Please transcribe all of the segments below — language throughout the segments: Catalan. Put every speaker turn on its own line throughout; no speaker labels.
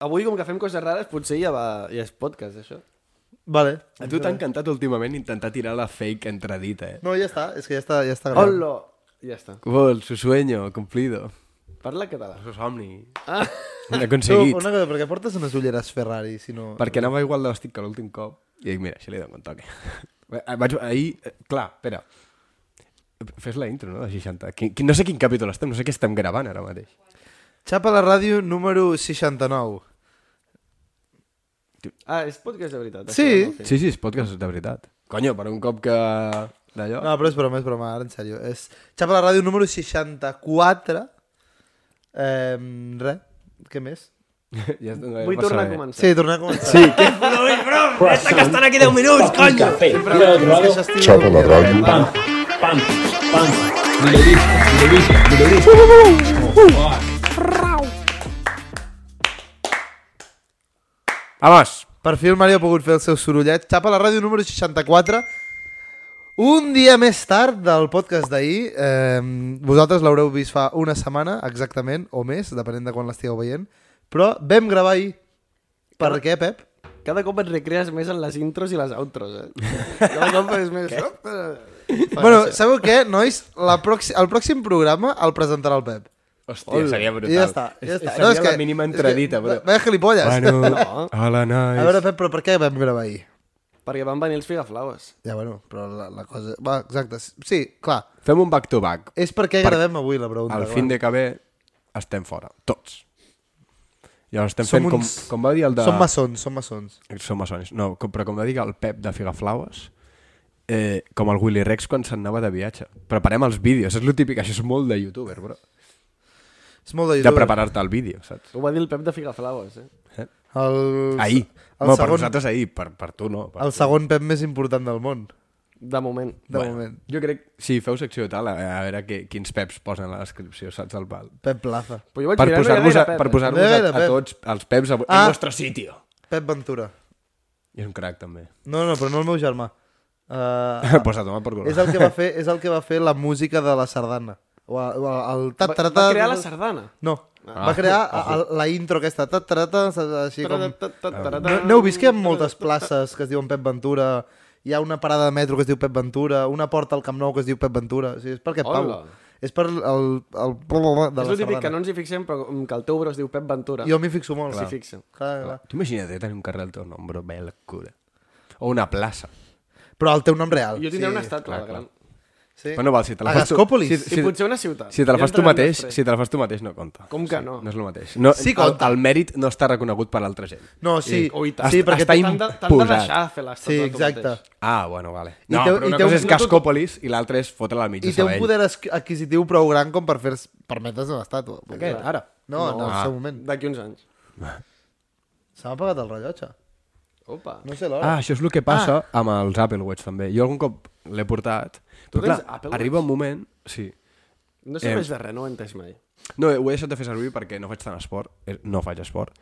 Avui, com que fem coses rares, potser ja, va, ja és podcast, això.
Vale.
A tu t'ha encantat últimament intentar tirar la fake entradita, eh?
No, ja està, és que ja està, ja està gravat.
Hola! Ja està.
Vol, su sueño, cumplido.
Parla català.
Su somni.
Ah,
Aconseguit.
una cosa, perquè portes unes ulleres Ferrari, si no...
Perquè anava igual de vestit que l'últim cop. I dic, mira, això li dono un toque. Vaig, ahir, eh, clar, espera. Fes la intro, no?, de 60. Quin, quin, no sé quin capítol estem, no sé què estem gravant ara mateix.
Xapa la ràdio número 69.
ah és podcast de veritat.
Sí.
això no ho sé.
Sí, sí, és podcast de veritat. Conyo, per un cop que... D'allò...
No, però és broma, és broma, ara en sèrio. És Xapa la ràdio número 64. Eh, re, què més?
ja està, no,
Vull
passa
tornar a
res.
començar.
Sí, tornar a començar. Sí, que...
Un café, mira de tu lado,
Chapa la radio.
pam, pam, pam. Milovic, Milovic, Milovic.
Vamos!
Per fi el Mario ha pogut fer el seu sorollet. Xapa la ràdio número 64. Un dia més tard del podcast d'ahir, eh, vosaltres l'haureu vist fa una setmana, exactament, o més, depenent de quan l'estigueu veient, però vam gravar ahir. Per què, Pep?
Cada cop et recrees més en les intros i les outros, eh? Cada cop és més... eh.
bueno, sabeu què, nois? La proxi... El pròxim programa el presentarà el Pep.
Hòstia, seria brutal.
I ja està. Ja està.
Seria no, és que, la mínima entradita,
és que,
però...
Vaya gilipolles.
Bueno,
No.
hola, nois.
A veure, Pep, però per què vam gravar ahir?
Perquè van venir els figaflaues.
Ja, bueno, però la, la cosa... Va, exacte. Sí, clar.
Fem un back-to-back.
És per què
Per-
gravem avui la pregunta.
Al
clar.
fin de que ve estem fora, tots. Llavors estem
Som
fent, com,
uns-
com va dir el de...
Són maçons, són maçons.
Som maçons. No, com, però com va dir el Pep de Figaflaues, eh, com el Willy Rex quan se'n anava de viatge. Preparem els vídeos, és lo típic, això és molt de youtuber, bro.
És molt de
De
youtuber.
preparar-te el vídeo, saps?
Ho va dir el Pep de figaflaues, eh?
Eh?
El...
Ahir.
El,
no, per
segon,
nosaltres ahir, per, per tu no. Per...
el segon Pep més important del món,
De moment.
de moment.
Jo crec, si feu secció i tal, a, a veure que, quins peps posen a la descripció, saps? El, el...
Pep Plaza.
Però jo vaig
Per
mirar, no hi ha
posar-vos a,
gaire Pep,
per
eh?
posar
No hi
a,
ha gaire
a,
Pep.
tots els peps a, ah.
Ah.
en vostre sitio.
Pep Ventura.
I és un crac, també.
No, no, però no el meu germà. Uh,
Ah. Posa a tomar per cul.
és, el que va fer, és el que va fer la música de la sardana. O, el- o el... el
Va,
tat,
va crear la sardana. Ah.
No, va crear el, la intro aquesta. Tat, tarata, així com... No,
No,
N'heu vist que hi ha moltes places que es diuen Pep Ventura, hi ha una parada de metro que es diu Pep Ventura, una porta al Camp Nou que es diu Pep Ventura, o sigui, és per aquest pau.
Hola.
És per el... el, el de
És
la
el típic que
sardana.
no ens hi fixem, però com que el teu bro es diu Pep Ventura.
Jo m'hi fixo molt.
s'hi fixa.
Clar, clar.
Tu imagina't tenir un carrer al teu nom, bro, vaya locura. O una plaça.
Però el teu nom real.
Jo tindré una estàtua
clar,
de gran.
Sí.
Però no val, si te la
A
fas tu-
Gascòpolis.
si-
I potser una ciutat.
Si te la
Ja
fas tu
entrarem
mateix,
després.
si te la fas tu mateix no compta.
Com que no?
No és el mateix. No,
Sí, compta.
El, el mèrit no està reconegut per altra gent.
No, sí.
Oh, i tant.
sí,
Està-
perquè
està
té-
T'han de, t'han de
imposat.
deixar fer l'estàtua
Sí,
tu
exacte.
mateix.
Ah, bueno, vale.
I
No,
té-
però
i
una
té
cosa
un-
és
no tot-
Gascòpolis i l'altra és fotre-la al mig
I
de
té un
Sabadell.
poder adqu- adquisitiu prou gran com per fer-se permetre's una estàtua. Aquest,
Clar.
ara. No, no, en el seu moment.
D'aquí uns anys.
Se m'ha apagat el rellotge.
Opa.
No sé l'hora.
Ah, això és el que passa ah. amb els Apple Watch també. Jo algun cop l'he portat. Però clar,
tens Apple
arriba un moment... Sí.
No
Eh.
serveix de res, no ho he entès mai.
No, eh, ho he deixat de fer servir perquè no faig tant esport. Eh, No faig esport.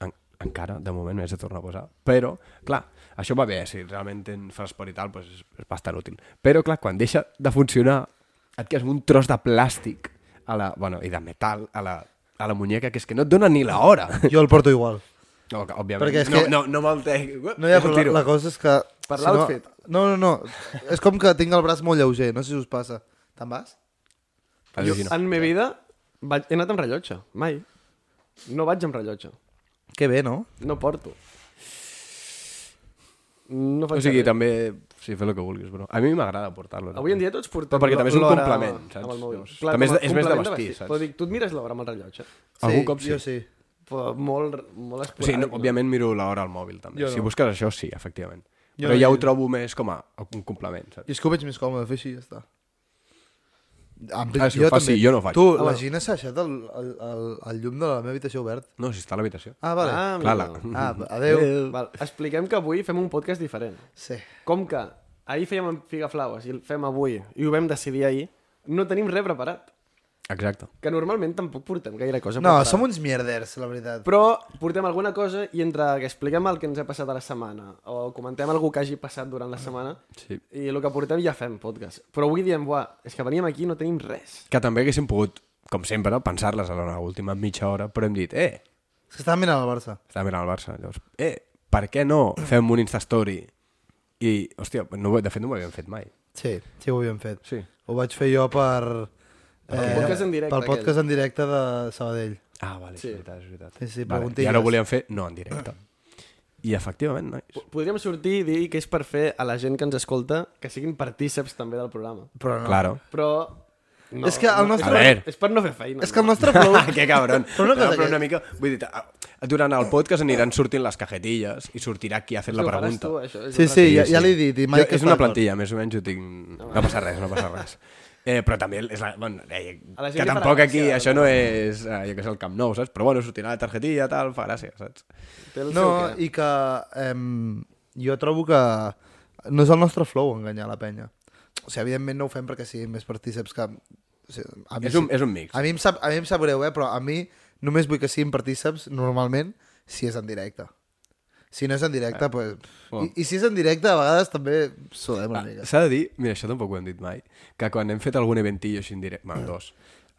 En, encara, de moment, m'he de tornar a posar. Però, clar, això va bé. Si realment ten, fas esport i tal, doncs és, és bastant útil. Però, clar, quan deixa de funcionar, et quedes amb un tros de plàstic a la, bueno, i de metal a la, a la muñeca, que és que no et dona ni la hora.
Jo el porto igual.
No, que, òbviament.
Perquè és
no,
que-
no, no me'l tenc.
No, ja, però la, la cosa és que...
Per
no-
l'outfit.
No, no, no. És com que tinc el braç molt lleuger, no sé si us passa. Te'n vas?
Jo, en mi vida, vaig, he anat amb rellotge. Mai. No vaig amb rellotge.
Que bé, no?
No porto. No faig
O sigui,
res.
també... Sí, fes el que vulguis, però... A mi m'agrada portar-lo.
Avui en dia tots portem
Però perquè també és un
l'hora
complement, saps?
Amb el mòbil.
Llavors, també és
com a
de- és més de
complement
vestir, saps?
Però dic, tu et mires l'hora amb el rellotge.
Algun cop sí.
Jo sí.
Però molt, molt esporàdic.
O sigui, no, òbviament miro l'hora al mòbil, també. No. Si busques això, sí, efectivament. Jo però ja ho trobo més com a un complement, saps?
I és que ho veig més còmode fer així i ja està. Em-
Ah, si ho fas, sí, jo no ho faig.
Tu, la Gina s'ha deixat el, el, el, el llum de la meva habitació obert.
No, si està a l'habitació.
Ah, vale.
Ah,
Clar,
mira.
la...
Ah, adeu.
Val, expliquem que avui fem un podcast diferent.
Sí.
Com que ahir fèiem amb Figaflaues i el fem avui i ho vam decidir ahir, no tenim res preparat.
Exacte.
Que normalment tampoc portem gaire cosa
No,
preparada.
som uns mierders, la veritat.
Però portem alguna cosa i entre que expliquem el que ens ha passat a la setmana o comentem algú que hagi passat durant la setmana
Sí.
i el que portem ja fem podcast. Però avui diem, buah, és que veníem aquí i no tenim res.
Que també haguéssim pogut, com sempre, pensar-les a l'hora última mitja hora, però hem dit, eh,
És que estava mirant el Barça.
Estava mirant el Barça. Llavors, eh, per què no fem un Instastory? I, hòstia, no, ho- de fet no ho havíem fet mai.
Sí, sí, ho havíem fet.
Sí.
Ho vaig fer jo per... eh,
Pel podcast en directe,
Pel podcast en directe de Sabadell.
Ah, vale,
Sí.
és veritat, és veritat.
Sí, sí,
vale, I
preguntilles.
ara ho volíem fer, no, en directe. I efectivament, nois.
Podríem sortir i dir que és per fer a la gent que ens escolta que siguin partíceps també del programa.
Però no.
Claro.
Però... No,
És que el nostre-
A veure.
És per no fer feina.
És que el nostre prou...
que cabron.
Però una cosa
no, però
que-
una mica... Vull dir, ah, durant el podcast aniran sortint les cajetilles i sortirà qui ha fet la
Ho faràs
pregunta.
Tu, això, és
Sí,
una
sí,
ràdio.
ja, ja l'he dit. I mai
Jo,
que
és una
està d'acord.
plantilla, més o menys ho tinc... No passa res, no passa res. Eh, però també és la... Bueno, eh,
A la gent
que
li farà
tampoc aquí,
gràcia,
això no és, eh, jo que sé, el Camp Nou, saps? Però bueno, sortirà la targetilla, tal, fa gràcia, saps?
Té el
No,
seu què.
i que em, jo trobo que no és el nostre flow enganyar la penya. O sigui, evidentment no ho fem perquè siguin més partíceps que... O sigui, a mi
És un,
sí-
és un mix.
A mi, em sap, a mi em sap greu, eh? però a mi només vull que siguin partíceps normalment si és en directe. Si no és en directe, pues...
Eh. Bueno. Ah,
I, I si és en directe, a vegades també sudem una mica.
S'ha de dir, mira, això tampoc ho hem dit mai, que quan hem fet algun eventillo així en directe,
Mm.
bueno, dos,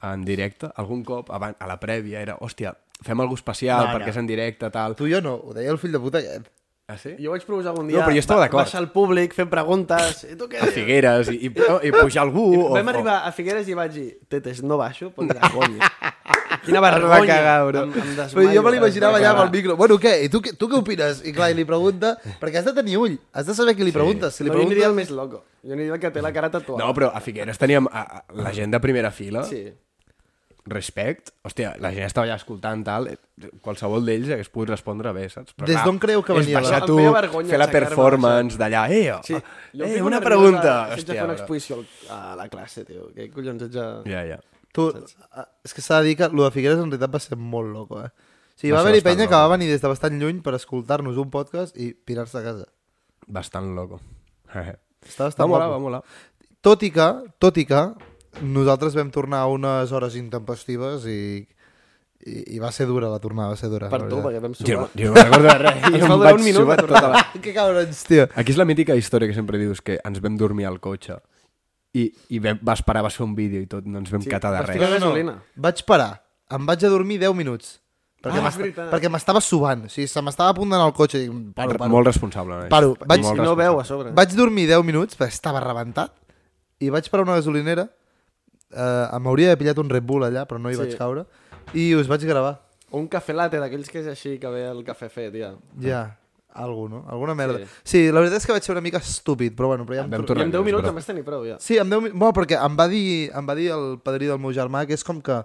en directe, algun cop, abans, a la prèvia, era, hòstia, fem alguna especial
No,
no,
no.
perquè és en directe, tal.
Tu i jo no, ho deia el fill de puta aquest.
Ah, sí?
Jo vaig proposar un
No,
dia
però jo estava
ba-
d'acord.
baixar al públic, fer preguntes... I tu què?
A Figueres, i, i, no, i pujar algú...
I
o-
vam
o-
arribar a Figueres i vaig dir Tetes, no baixo, però vergonya. Quina vergonya.
Em va cagar, bro.
Em, em desmaio.
Però jo me l'imaginava
Em va
allà amb el
cagar.
micro. Bueno, què? I tu, què- tu què opines? I clar, i li pregunta... Perquè has de tenir ull. Has de saber qui li preguntes. Si li
No, jo aniria
preguntes...
el més loco. Jo aniria el que té la cara tatuada.
No, però a Figueres teníem a, a, la gent de primera fila,
Sí.
respect, hòstia, la gent estava allà escoltant, tal, eh, qualsevol d'ells hagués pogut respondre bé, saps? Però,
Des
clar,
d'on creu que
és
venia la-
baixar
Em
tu,
feia vergonya
fer la
aixecar-me,
performance d'allà, eh, oh,
Sí, jo em
eh
fico
una
nerviós
pregunta,
a- si haig de
hòstia,
fer una
bro.
exposició al- a la classe, tio. Què collons haig de...
Ja, ja.
Tu, ah, és que s'ha de dir que el de Figueres en realitat va ser molt loco, eh? O sigui,
Va
va,
ser
haver-hi
bastant
penya que
loco.
va venir des de bastant lluny per escoltar-nos un podcast i pirar-se a casa.
Bastant loco.
Està
Va
bastant
molar,
guapo.
va molar.
Tot i que, tot i que, nosaltres vam tornar a unes hores intempestives i, i, i va ser dura la tornada, va ser dura.
Per
la
tu, perquè
veritat.
vam
Jo,
sopar.
no- jo no me'n recordo de res.
Ens va
jo em
durar un
vaig
minut
subar
la
tota la...
Que cabrons, tio.
Aquí és la mítica història que sempre dius, que ens vam dormir al cotxe i, i vam, vas parar, vas fer un vídeo i tot, no ens vam sí, catar de
vas
res.
tirar- gasolina.
Vaig parar, em vaig a dormir 10 minuts.
Ah,
Perquè
és
m'esta-
veritat.
perquè m'estava subant, o sigui, se m'estava a punt d'anar al cotxe i dic, "Mm, paro, paro.
Molt responsable. nois.
Paro,
I
vaig-
Molt
no
responsable.
veu a sobre.
Vaig dormir 10 minuts, perquè estava rebentat, i vaig parar a una gasolinera, eh, m'hauria d'haver pillat un Red Bull allà, però no hi
Sí.
sí. vaig caure, i us vaig gravar,
O un cafè latte d'aquells que és així, que ve el cafè fet, ja.
ja, algú, no? Alguna merda. Sí. sí, la veritat és que vaig ser una mica estúpid, però bueno, però ja em tro-
Vam
I
Tornem,
en 10 minuts
però-
em vas tenir prou, ja.
Sí, em deu... Bueno, perquè em va, dir, em va dir el padrí del meu germà que és com que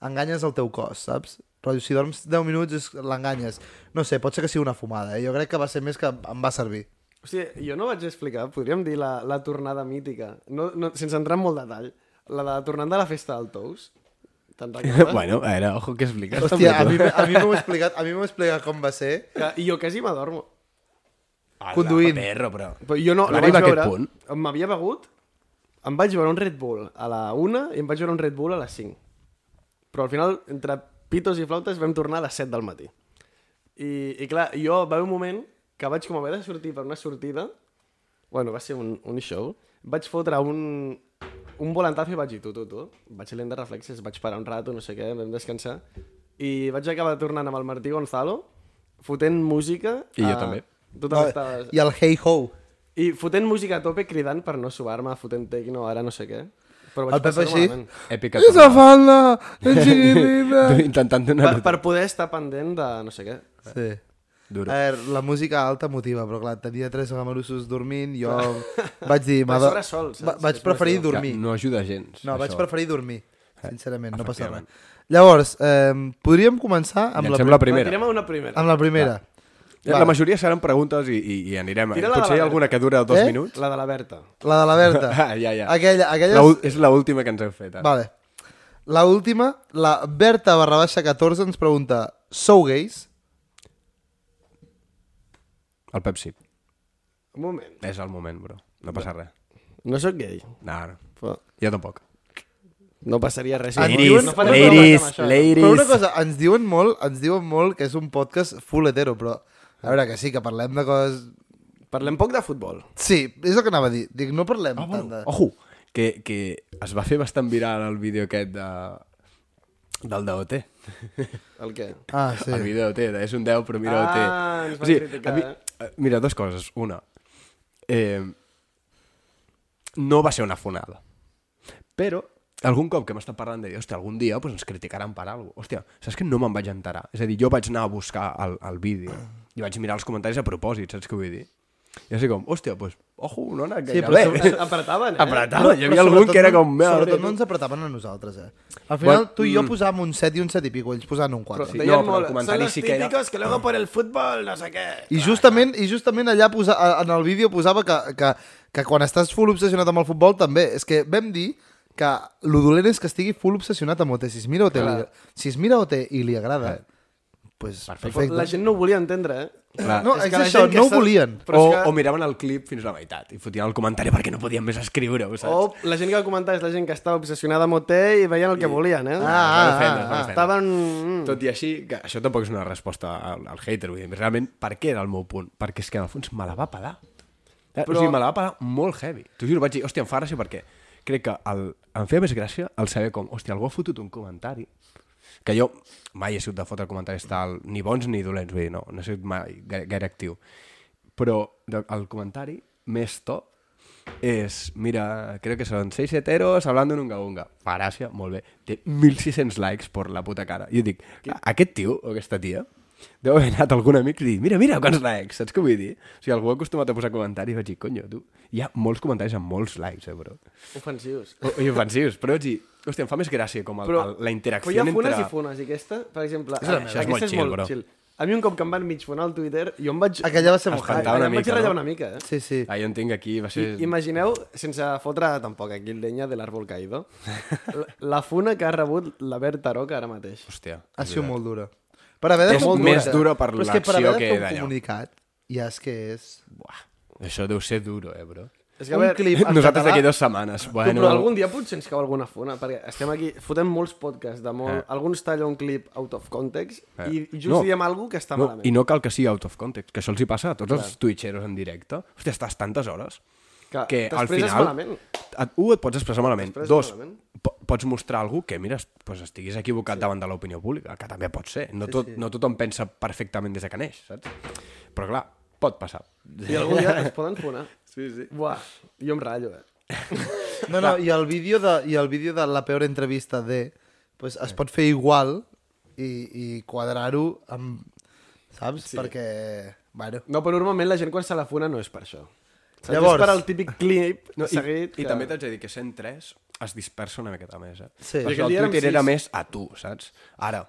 enganyes el teu cos, saps? Però si dorms 10 minuts és- l'enganyes. No sé, pot ser que sigui una fumada, eh? Jo crec que va ser més que em va servir.
O sigui, jo no vaig explicar, podríem dir la, la tornada mítica, no, no, sense entrar en molt detall, la de tornant de la festa del Tous, te'n recordes?
Bueno, a veure, ojo que expliques.
Hòstia, a mi,
també, tu.
a mi m'ho explicat, a mi m'ho explicat com va ser.
que, I jo quasi m'adormo.
Hola,
conduint.
Perro, però...
Però jo no,
Però
no vaig
arriba a aquest
veure,
punt.
m'havia begut, em vaig veure un Red Bull a la 1 i em vaig veure un Red Bull a les 5. Però al final, entre pitos i flautes, vam tornar a les 7 del matí. I, i clar, jo va haver un moment que vaig com haver de sortir per una sortida, bueno, va ser un, un show, vaig fotre un, un volantazo i vaig dir, tu, tu, tu, vaig lent de reflexes, vaig parar un rato, no sé què, vam descansar, i vaig acabar tornant amb el Martí Gonzalo, fotent música...
I jo també.
Tu també estaves...
I el Hey Ho.
I fotent música a tope, cridant per no subar-me, fotent tecno, ara no sé què. Però vaig
El Pep
passar-ho
així.
malament.
Èpica.
És la
tornada.
falda, l'enxinina.
Tu Intentant donar...
Per, per poder estar pendent de no sé què.
Sí.
Duro.
A veure, la música alta motiva, però clar, tenia tres gamarussos dormint, jo vaig dir...
Però
m'ha de-
sobre sol, saps?
va- Vaig
És
preferir
més
dormir.
No ajuda gens.
No, vaig
això.
preferir dormir, sincerament, no passa res.
efectivament.
Llavors, eh, podríem començar amb la,
Llancem la
prim-
Primera.
primera.
Tirem a una primera.
amb la primera.
La
Va.
majoria seran preguntes i, i, i anirem.
Tira la de
Potser hi
la
ha alguna que dura dos
Eh?
minuts.
La de la Berta.
La de la Berta.
Ah, ja, ja.
Aquella, aquella...
La,
és-
ul- és l'última que ens hem fet. Ara.
Vale. La última, la Berta barra baixa 14 ens pregunta, sou gais?
El Pepsi.
Un moment.
És el moment, bro. No passa res.
No sóc gay,
No, no.
però
Jo tampoc.
no passaria res.
Ah,
Ens
No
diuen-
farem
ladies,
problema amb això, eh?
Però una cosa, ens diuen molt, ens diuen molt que és un podcast full hetero, però a veure, que sí, que parlem de coses...
Parlem poc de futbol.
Sí, és el que anava a dir. Dic, no parlem
Ah,
tant de...
bueno, ojo, que, que es va fer bastant viral el vídeo aquest de Del DOT.
El què?
Ah, sí.
Sí. El vídeo DOT, és un 10, però mira
Ah,
DOT.
ens van criticar,
mi, eh, mira, dues coses. Una, eh, no va ser una fonada. Però algun cop que hem estat parlant de dir, hòstia, algun dia pues, ens criticaran per alguna cosa. Hòstia, saps que no me'n vaig enterar? És a dir, jo vaig anar a buscar el, el vídeo i vaig mirar els comentaris a propòsit, saps què vull dir? I així com, hòstia, doncs, pues, ojo, no ha anat
Sí,
gaire
però
bé.
sobre- apretaven, eh?
Apretaven, Ah, hi
Però
havia algun
sobretot
que era
no-
com... "Mira,
Sobretot
tu".
no ens apretaven a nosaltres, eh? Al final,
Bueno,
tu i jo posàvem un 7 i un 7 i pico, ells posaven un 4.
Però,
Sí,
deien
no, però el
molt,
comentari
són els
sí que era-
típicos que luego por el fútbol, no sé què.
I justament, i justament allà posa, a- en el vídeo posava que, que, que quan estàs full obsessionat amb el futbol també, és que vam dir que lo dolent és que estigui full obsessionat amb OT. Si es mira OT, li, si es mira OT i li agrada, pues, perfecte.
La gent no ho volia entendre, eh?
Clar.
No,
És
és,
que la
això,
gent que
no ho
està-
volien.
Però
o,
és que-
o miraven el clip fins a la meitat i fotien el comentari perquè no podien més escriure-ho, saps?
O la gent que va comentar és la gent que estava obsessionada amb OT i veien el que volien, eh?
Ah,
per ofendre, per
ah,
ofendre.
Estaven... mm,
Tot i així, que això tampoc és una resposta al, al hater, vull dir, realment, per què era el meu punt? Perquè és que, en el fons, me la va pelar. Però... O
Però-
sigui, me la va pelar molt heavy. T'ho juro, vaig dir, hòstia, em fa gràcia perquè crec que el, em feia més gràcia el saber com, hòstia, algú ha fotut un comentari que jo mai he sigut de fotre comentaris tal, ni bons ni dolents, vull dir, no, no he sigut mai gaire, gaire actiu. Però de- el comentari més top és, mira, creo que son seis heteros hablando en un gaunga. Paràsia, molt bé. Té 1.600 likes por la puta cara. I jo dic, aquest tio o aquesta tia deu haver anat a algun amic i dir, mira, mira quants likes, saps què vull dir? O sigui, algú acostumat a posar comentaris i vaig dir, conyo, tu, hi ha molts comentaris amb molts likes, eh, bro.
Ofensius.
O, I ofensius, però vaig dir, hòstia, em fa més gràcia com el,
Però,
el, la interacció
però hi ha funes
entre...
i funes, i aquesta, per exemple...
És la meva. Això és molt
aquesta
chill, bro.
A mi un cop que em van mig funar al Twitter, jo em vaig...
Aquella va ser molt
Espantar
Ah,
una
em vaig
mica,
ratllar
no?
una mica, eh?
Sí, sí.
Ah, jo entenc que aquí va ser...
I, imagineu, sense fotre tampoc aquí el denya de l'àrbol caïdo, la, la funa que ha rebut la Bert Taroca ara mateix.
Hòstia.
Ha sigut molt dura. Per haver de
És
fer un
més
comunicat-
dura per
però és que per
l'acció
haver de
que
fer un
d'allò.
comunicat, ja és que és...
Buah, això deu ser duro, eh, bro.
És que, a
Un
veure,
clip en
Nosaltres
català-
d'aquí dues setmanes.
Bueno...
Bueno,
Però algun dia potser ens cau alguna funa, perquè estem aquí, fotem molts podcasts de molt...
Eh.
Eh. Alguns talla un clip out of context eh. i just
No.
no. diem alguna que està
no,
no. malament.
I no cal que sigui out of context, que això els hi passa a tots Clar. els twitcheros en directe. Hòstia, estàs tantes hores
Que
que al
t'expresses
final...
malament.
Et, un, et pots expressar malament.
T'expresses
Dos,
malament.
po- pots mostrar a algú que, mira, es- pues, estiguis equivocat sí. davant de l'opinió pública, que també pot ser. No, tot, sí, sí. no tothom pensa perfectament des de que neix, saps? Però clar, pot passar.
I algun dia es poden funar.
Sí, sí.
Buah, jo em ratllo, eh?
No, no, i el vídeo de, i el vídeo de la peor entrevista de... Pues es pot fer igual i, i quadrar-ho amb... Saps? Sí. Perquè... Bueno.
No, però normalment la gent quan se la funa no és per això. Saps?
Llavors-
És per al típic clip
No,
no,
i,
seguit.
I també t'haig de dir que 103 es dispersa una miqueta més, eh?
Sí.
Perquè
Aquell
el
dia érem
Twitter era
sis.
més a tu, saps? Ara,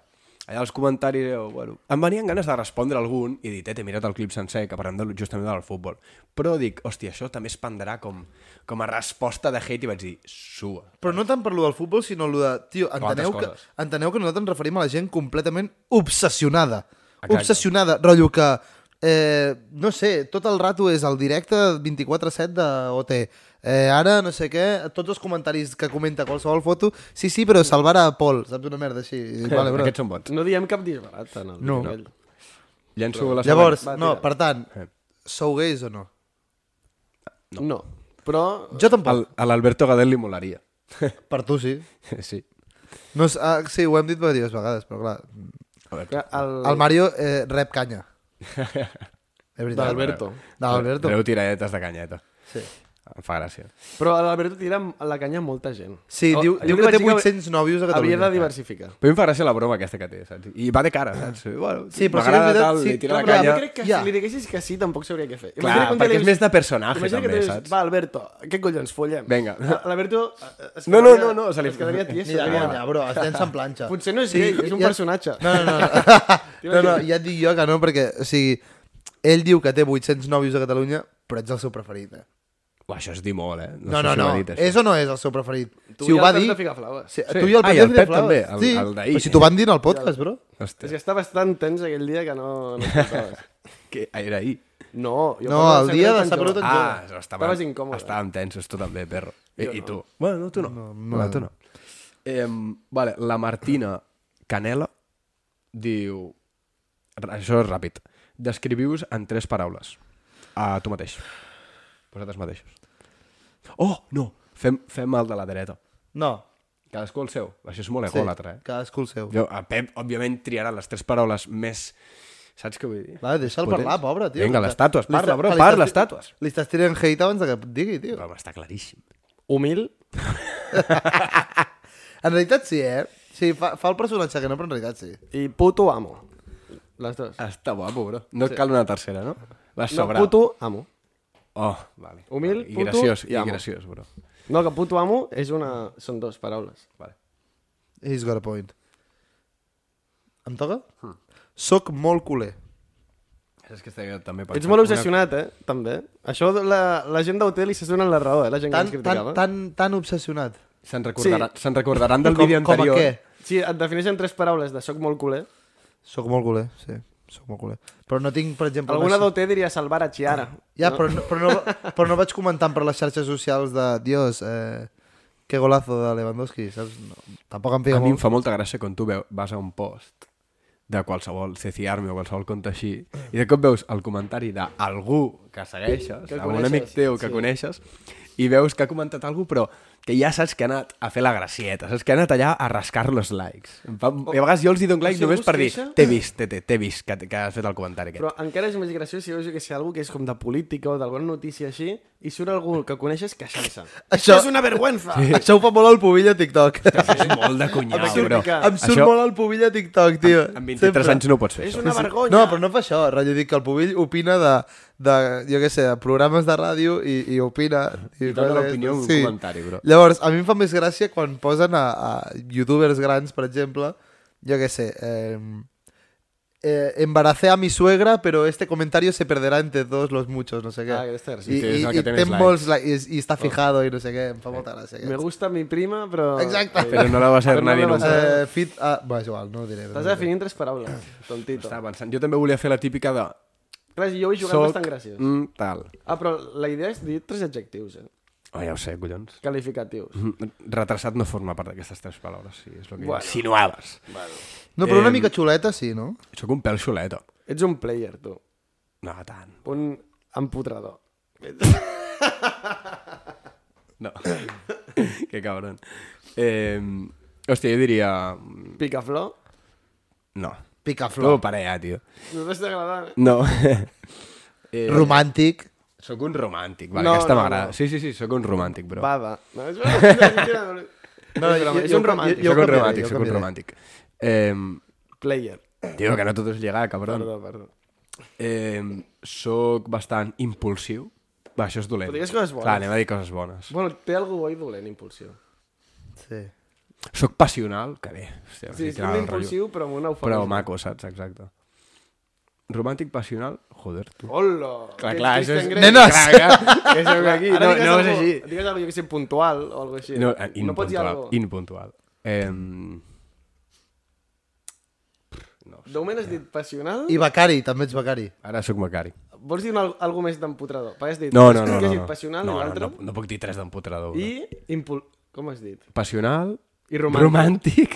allà els comentaris, eh, bueno, em venien ganes de respondre a algun i dir, "Eh, t'he mirat el clip sencer, que parlem de, justament del futbol. Però dic, hòstia, això també es prendrà com, com a resposta de hate i vaig dir, sua.
Però no tant per lo del futbol, sinó lo de... Tio,
altres
enteneu que,
coses.
enteneu que nosaltres ens referim a la gent completament obsessionada.
Exacte.
Exacte. Obsessionada. Rotllo que... Eh, no sé, tot el rato és el directe 24-7 de OT. Eh, ara, no sé què, tots els comentaris que comenta qualsevol foto, sí, sí, però salvar a Pol, saps? Una merda així. I, Vale, bro.
Aquests són bons.
No diem cap disbarat en el
No.
vídeo aquell.
Llenço la següent.
Llavors,
Va,
no,
tira.
per tant,
Eh.
sou gais o no?
No. no. Però...
Jo tampoc.
El- a l'Alberto Gadel li molaria.
Per tu sí.
sí.
No, és- ah, sí, ho hem dit diverses vegades, però clar.
A veure,
que El,
El Mario eh, rep canya. És
de
veritat.
l'Alberto.
De l'Alberto.
Treu tiradetes de canyeta.
Sí,
Em fa gràcia.
Però a l'Alberto tira la canya a molta gent.
sí
Oh,
diu,
jo
diu
li
que
vaig
té
dir
800 nòvios a
Havia de
Catalunya.
diversificar.
Però a mi em fa gràcia la broma aquesta que té, saps? I va de cara, saps? Bueno,
Sí, però sí que és
m'agrada
veritat,
tal,
sí,
li tira
no,
la
però a mi
canya...
crec que
Ja.
si li diguessis que sí, tampoc sabria què fer.
Clar,
Imagina quan
perquè
li
és
dius-
més de personatge,
Imagina que
també,
tu dius,
saps?
Va, Alberto, què collons, follem.
Vinga.
Ah, L'Alberto... eh, es
No, no,
quedaria-
no, no, se li-
Es quedaria tieso. diria,
Mira,
Ah.
guanya, bro, es llença en planxa.
Potser no és gay, és un personatge.
No, no, no. no, no, ja et dic jo que no, perquè, o sigui, ell diu que té 800 nòvios a Catalunya, però ets el seu preferit, eh?
Uah, això és dir molt, eh?
No,
sé
no,
si ho
no.
ha dit, això.
És o no és el seu preferit?
Tu
si
i
ho
el
va
Pep
dir...
de Ficaflaues.
Sí,
Sí.
tu i el
Ah,
Pep,
i el
de
Pep
Ficaflaues.
també, el-
Sí.
el d'ahir.
Però si t'ho van dir en el podcast, bro.
Hòstia,
És que estava tan tens aquell dia que no... No, escoltaves.
que era ahir.
no, jo
No,
parlava
el
de
dia de
Sagrada Tan
Sagrada Tan
Jove.
Jove.
Ah, estava,
Estaves incòmode.
Estàvem tensos, tu també, perro. Eh, I, I tu? Bueno, no, tu no. No, no. tu no. Eh, vale, la Martina Canela diu... Això és ràpid. Descriviu-vos en tres paraules. A tu mateix. Vosaltres mateixos. Oh, no! Fem, fem el de la dreta.
No.
Cadascú el seu. Això és molt ególatra, eh?
Cadascú el seu. Jo...
Jo, el Pep, òbviament, triarà les tres paraules més... Saps què vull dir?
Va, deixa'l
Potents.
parlar, pobre, tio.
Vinga,
Que-
les tàtues,
li
parla,
està-
bro,
que li
parla, les
estàs-
tàtues.
Li estàs tirant hate abans de que et digui, tio.
Però està claríssim.
Humil,
En realitat sí, eh? Sí, fa, fa el personatge que no, però en realitat sí.
i puto amo. Les dues.
Està guapo, bro. No et cal una tercera, no? L'has
No,
sobrat.
puto amo.
Oh, vale.
Humil,
vale. I
puto
graciós,
i
i,
amo.
graciós, bro.
No, que puto amo és una... Són dues paraules.
Vale.
He's got a point. Em toca? Hmm. Soc molt culer.
És que estaria també
Ets molt obsessionat, eh? També. Això de la, la gent d'hotel i se donen la raó, eh? La gent
Tan,
que ens
tan,
criticava.
tan, tan obsessionat.
Se'n recordaran, sí. se'n recordaran del
com,
vídeo
com a
anterior.
què?
Sí, et defineixen tres paraules de soc molt culer.
Soc molt culer, sí. Soc molt culer. Però no tinc, per exemple...
Alguna
una-
d'hotel diria salvar a Chiara.
Ja, però, no, però, no, però no vaig comentant per les xarxes socials de Dios, eh, que golazo de Lewandowski, saps? No, tampoc em
A
fica
mi em
molt...
fa molta gràcia quan tu veu, vas a un post de qualsevol Ceci Army o qualsevol compte així i de cop veus el comentari d'algú que segueixes,
Que
que algun
coneixes,
amic teu
sí.
que sí. coneixes i veus que ha comentat algú però que ja saps que ha anat a fer la gracieta, saps que ha anat allà a rascar los likes. Em fa, I a vegades jo els hi dono
o
like
si algú
només per
es
dir
queixa-
t'he vist, t'he- t'he t'he vist que, que has fet el comentari aquest.
Però encara és més graciós si veus que sé, algú que és com de política o d'alguna notícia així i surt algú que coneixes queixant-se.
Això-
és una vergüenza!
Sí. Això ho fa molt el Pubilla a TikTok.
Això és molt de cunyau,
Em surt
bro.
picat.
em surt
Això-
molt el Pubilla a TikTok, tio.
Amb 23
Sempre.
anys no pots fer
És
això.
una vergonya!
No, però no fa això, rotllo, dic que el Pubill opina de, de jo què sé, de programes de ràdio i, i opina. I,
dona
coses
l'opinió en un
d'aquestes.
comentari, bro.
Llavors, a mi em fa més gràcia quan posen a, a youtubers grans, per exemple, jo què sé, eh, eh, embaracé a mi suegra, però este comentario se perderá entre todos los muchos, no sé què.
Ah, que està
I,
gracioso.
Sí, és
i,
el
i
que té més
té
likes. Oh.
molts likes i, i està fijado i no sé què, em fa molta gràcia.
Me
Aquest.
gusta mi prima, però...
Exacte.
Però no la va ser
Però no
nadie
la va
nunca.
ser.
Eh, fit, ah, va, és igual, no ho diré. no ho
T'has
diré.
de definir en tres paraules, tontito.
Estava pensant. Jo també volia fer la típica de...
Clar, si jo ho he jugat
soc,
bastant graciós.
Mm, tal.
Ah, però la idea és dir tres adjectius, eh?
Oh, ja ho sé, collons.
Qualificatius.
Mm, Retrasat no forma part d'aquestes tres paraules, sí, és el que
Bueno.
bueno. insinuaves.
No, però una
Em-
mica xuleta sí, no?
Soc un pèl xuleta.
Ets un player, tu.
No, tant.
Un empotrador.
No. que cabron. Eh, hòstia, jo diria... mm,
Picaflor.
No.
Picaflor.
No, per allà, tio.
No t'està agradant, eh?
No. eh,
Romàntic.
Soc un romàntic, vale,
No,
no, aquesta
no,
m'agrada.
no.
Sí, sí, sí, soc un romàntic, bro.
Bava. No, és broma. No, és, broma.
jo-
és
jo-
un romàntic.
jo-
soc un
canviaré,
romàntic,
jo
soc un
canviaré.
romàntic. Eh,
Player.
tio, que no tot és llegar, cabron.
Perdó, perdó.
Eh, soc bastant impulsiu. Va, això és dolent.
Però digues coses bones.
Clar, anem a dir coses bones.
Bueno, té algú bo i dolent, impulsió.
Sí.
Soc passional, que bé. Hòstia,
Sí, és
literal,
un
el rotllo.
impulsiu, però amb una eufòria.
Però maco, saps? Exacte. Romàntic, passional, joder, tu.
Hola!
Clar, clar, això és...
Grey. Nenes!
Clar, clar, que soc aquí.
Ara
No,
digues
no és
algú,
així.
Digues algú, jo que sé, puntual o alguna així.
No, eh,
no pots dir
impuntual.
algo.
impuntual. Eh, no,
De moment
Eh.
has dit passional?
I Becari, també ets Becari.
ara soc Macari.
Vols dir una, alguna més d'empotrador? Perquè has dit,
No, no, no.
que
no,
has
no.
dit passional
no,
i
no,
l'altre...
no, no puc dir tres d'empotrador. I...
I impul... Com has dit?
Passional.
I romàntic.
Romàntic.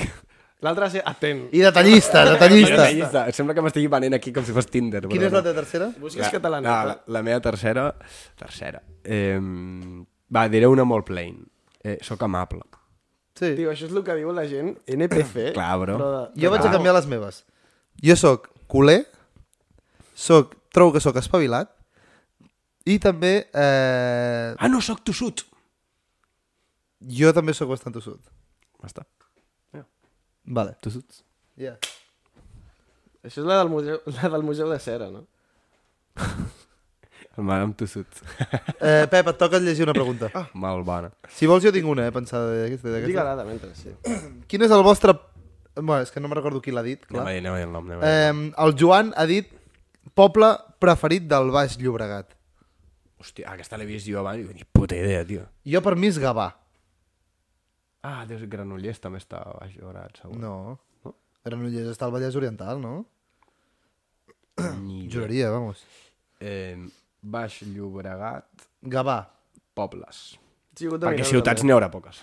L'altre ha de ser atent.
I detallista, detallista.
Llista. Sembla que m'estigui venent aquí com si fos Tinder. però
Quina és
no.
la teva tercera?
Busques
La-
catalana.
La, la, la meva tercera... Tercera. Eh, va, diré una molt plain. Eh, soc amable.
Sí.
Tio, això és el que diu la gent NPC.
Clar, bro.
però de-
Jo vaig a canviar les meves. Jo sóc culer, sóc, trobo que sóc espavilat, i també eh,
Ah, no, soc tossut!
jo també sóc bastant tossut.
Basta.
Vale.
Tossuts.
Yeah.
Això és la del museu, la del museu de cera, no?
El mare amb tossuts.
Eh, Pep, et toca llegir una pregunta. Ah.
Mal bona.
Si vols jo tinc una, eh, pensada d'aquesta. d'aquesta.
Digue-la de mentre, sí.
Quin és el vostre... Bueno, és que no me recordo qui l'ha dit, clar.
Anem a dir, anem a dir el nom. Anem a dir.
Eh, el Joan ha dit poble preferit del Baix Llobregat.
Hòstia, aquesta l'he vist jo abans i dic, ni puta idea, tio.
Jo per mi és Gavà.
Ah, Déu, Granollers també està a baix Llobregat, segur.
No.
No?
Granollers està al Vallès Oriental, no?
Ni idea.
Juraria, vamos.
Eh, baix Llobregat,
Gavà.
pobles.
Sí, ho
Perquè
domineu,
ciutats
també.
n'hi haurà poques.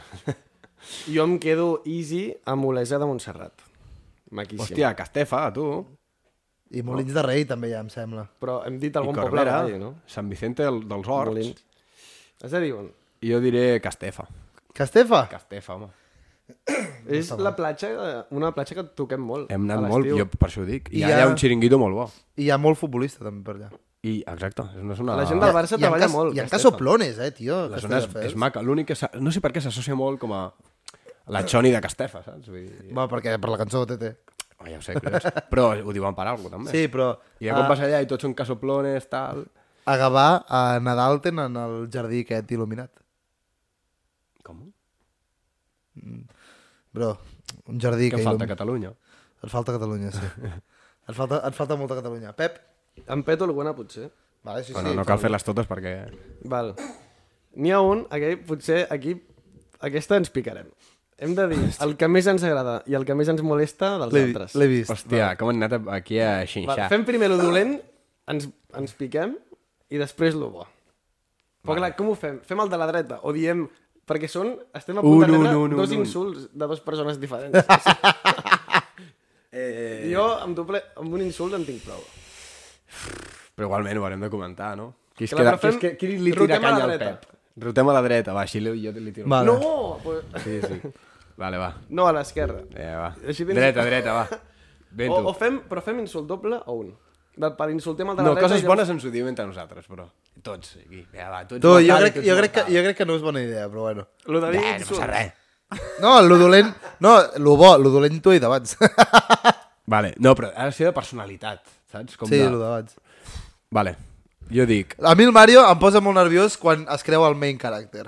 Jo em quedo easy amb Olesa de Montserrat. Maquíssim.
Hòstia, Castefa, tu.
I Molins de Rei també hi ha, em sembla.
Però hem dit
I
algun poble
Corbera,
ràdio, no?
Sant Vicente del- dels Horts.
Molins. Has de dir on?
Jo diré Castefa.
Castefa?
Castefa, home.
És la platja, una platja que toquem molt.
Hem
a
anat molt,
l'estiu.
jo per això ho dic. I,
I
I ara
hi
hi
ha-
ha un xiringuito molt bo.
I hi ha molt futbolista també per allà.
I, exacte, és una zona...
La gent del
Hi ha-
Barça
hi ha
treballa
cas-
molt,
Hi ha
Castelldefels.
casoplones, eh, tio.
La zona és, és maca. L'únic que... s'ha- No sé per què s'associa molt com a la Choni de Castefa, saps? Vull dir...
Va, perquè per la cançó de TT.
Oh, ja ho sé, collons. Però ho diuen per alguna també.
Sí, però...
Ah.
I ja quan vas allà i tots són casoplones, tal...
a Gavà, a Nadal tenen el jardí aquest il·luminat.
Com?
Bro, un jardí
Què
que
falta a
il·lumi-
Catalunya?
Et falta Catalunya, sí. et, falta, et falta molta Catalunya. Pep?
Em peto alguna, potser.
Vale, sí,
Bueno,
sí.
no cal fer-les totes perquè...
Val. N'hi ha un, aquell, potser aquí, aquesta ens picarem. Hem de dir el que més ens agrada i el que més ens molesta dels
L'he
altres.
l'he vist.
Hòstia, com han anat aquí a xinxar.
Val, fem primer lo dolent, ens, ens piquem i després lo bo. Però clar, com ho fem? Fem el de la dreta o diem... Perquè són, estem a punt
Un,
de rebre
un, un,
dos
un, un.
insults de dues persones diferents. O sigui,
Eh.
jo amb, doble, amb un insult en tinc prou.
Però igualment ho haurem de comentar, no? Qui, es
Clar,
queda,
però
qui,
fem-
es que, qui li tira
rotem a la
canya al
dreta.
Pep? Rotem a la dreta, va, així li, jo li tiro.
Vale.
No! Pues,
Sí, sí. Vale, va.
no, a l'esquerra.
Eh, va.
Així tens-
Dreta, dreta, va. Ben
O,
tu.
o fem, però fem insult doble o un. De, per insultem el de la
No,
dreta...
coses
i
bones ens ho diem entre nosaltres, però. Tots, aquí. Ja, va, tu ets
Tu, jo,
mortal,
crec,
tu ets
jo, crec que,
mortal.
jo crec que no és bona idea, però bueno.
Lo de dir
Eh, no
insult.
passa res.
No, lo dolent... No, lo bo, lo dolent t'ho he dit abans.
Vale, no, però ha de ser de personalitat, saps? Com
sí,
de...
lo d'abans.
Vale, jo dic...
A mi el Mario em posa molt nerviós quan es creu el main character.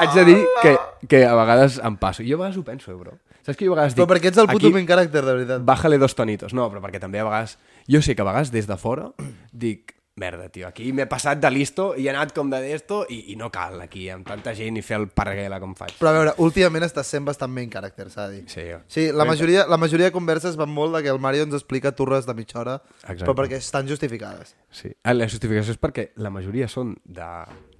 Haig de dir que, que a vegades em passo. Jo a vegades ho penso, eh, bro. Saps que jo a vegades dic...
Però perquè ets el puto
aquí-
main character, de veritat.
Bájale dos tonitos. No, però perquè també a vegades... Jo sé que a vegades des de fora dic... Merda, tio, aquí m'he passat de listo i he anat com de d'esto i, i no cal aquí amb tanta gent i fer el parguela com faig.
Però a veure, últimament estàs sent bastant main character, s'ha de dir.
Sí, jo.
sí Eh, la, majoria, la majoria de converses van molt de que el Mario ens explica turres de mitja hora,
Exacte.
però perquè estan justificades.
Sí. Ah, La justificació és perquè la majoria són de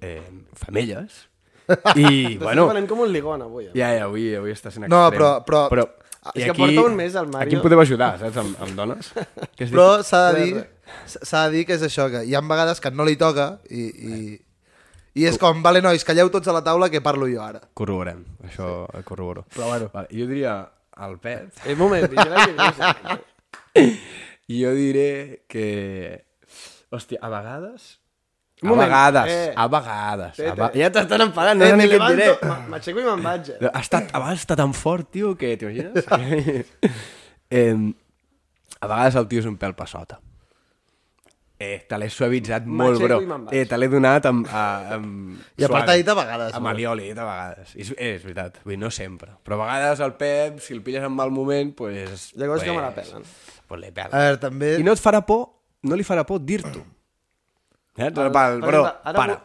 eh, femelles i,
T'estic
bueno...
venent com un ligon avui. Eh?
Ja, ja, avui, avui està sent
No,
extrem.
però- però-
És que porta un mes, el Mario.
Aquí em podeu ajudar, saps, amb, amb dones. Que es
Però
diu-
s'ha de dir
res,
s'ha de dir que és això, que hi ha vegades que no li toca i, i,
Eh.
i és com, vale nois, calleu tots a la taula que parlo jo ara.
Corroborem, això sí. corroboro.
Però bueno.
Vale, jo diria el Pep
Eh, un moment, jo crec que...
i jo diré que... Hòstia, a vegades...
Un
A
moment,
vegades,
eh.
a vegades.
Té,
a ve-
té.
Ja t'estan enfadant, no
Eh,
sé
me
ni què et diré.
levanto, m- m'aixeco i me'n vaig. Eh?
Ha estat, a vegades està tan fort, tio, que t'imagines? eh, a vegades el tio és un pèl passota. Eh, te l'he suavitzat molt,
M'aixeco
bro.
i me'n vaig.
Eh, te l'he donat amb... A, amb
I a part
suave.
t'ha dit a vegades,
Amb
bro.
alioli, he dit a vegades. És, eh, és veritat, vull dir, no sempre. Però a vegades el Pep, si el pilles en mal moment, pues,
Llavors
pues,
que me la pelen.
Pues li
A
pela.
veure, també...
I no et farà por, no li farà por dir-t'ho. Eh? Ara, pal,
per
bro,
exemple, ara
para.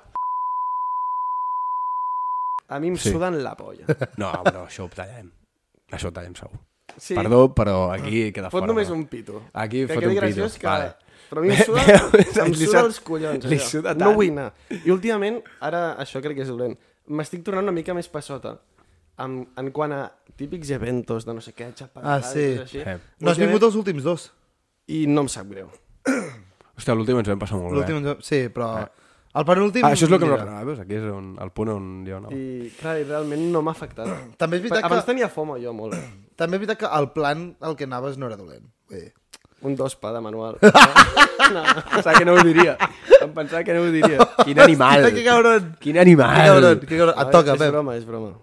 A mi em
Sí.
suden la polla.
No, bro, això ho tallarem. Això ho tallem segur.
Sí.
Perdó, però
Mm.
aquí queda
Fot
fora.
només
bro.
un pito.
Aquí
que
fot
quedi
un pito,
graciós Que...
vale.
Però a mi em suda, em
Li
suda
sud-
els collons.
li
això.
suda
No
tant.
vull anar. I últimament, ara això crec que és dolent, m'estic tornant una mica més passota en, en quant a típics eventos de no sé què,
Ah,
xapagades,
sí.
així.
Eh.
No has vingut els últims dos.
I no em sap greu.
Hòstia, l'últim ens vam passar molt bé. Eh.
L'últim... Sí, però... El penúltim...
Ah, això és el que
mira,
m'agradava, veus? Aquí és on, el punt on jo anava.
I, clar, i realment no m'ha afectat.
També és veritat
Abans
que-
tenia foma jo molt. eh?
També és veritat que el plan al que anaves no era dolent. Vull dir,
Un dos pa de manual. No, no.
Pensava que no ho diria. Em pensava que no ho diria. Quin animal.
Hòstia, que cabron.
Quin animal.
Que cabron, que cabron. Et toca,
és, és
Pep.
broma, és broma.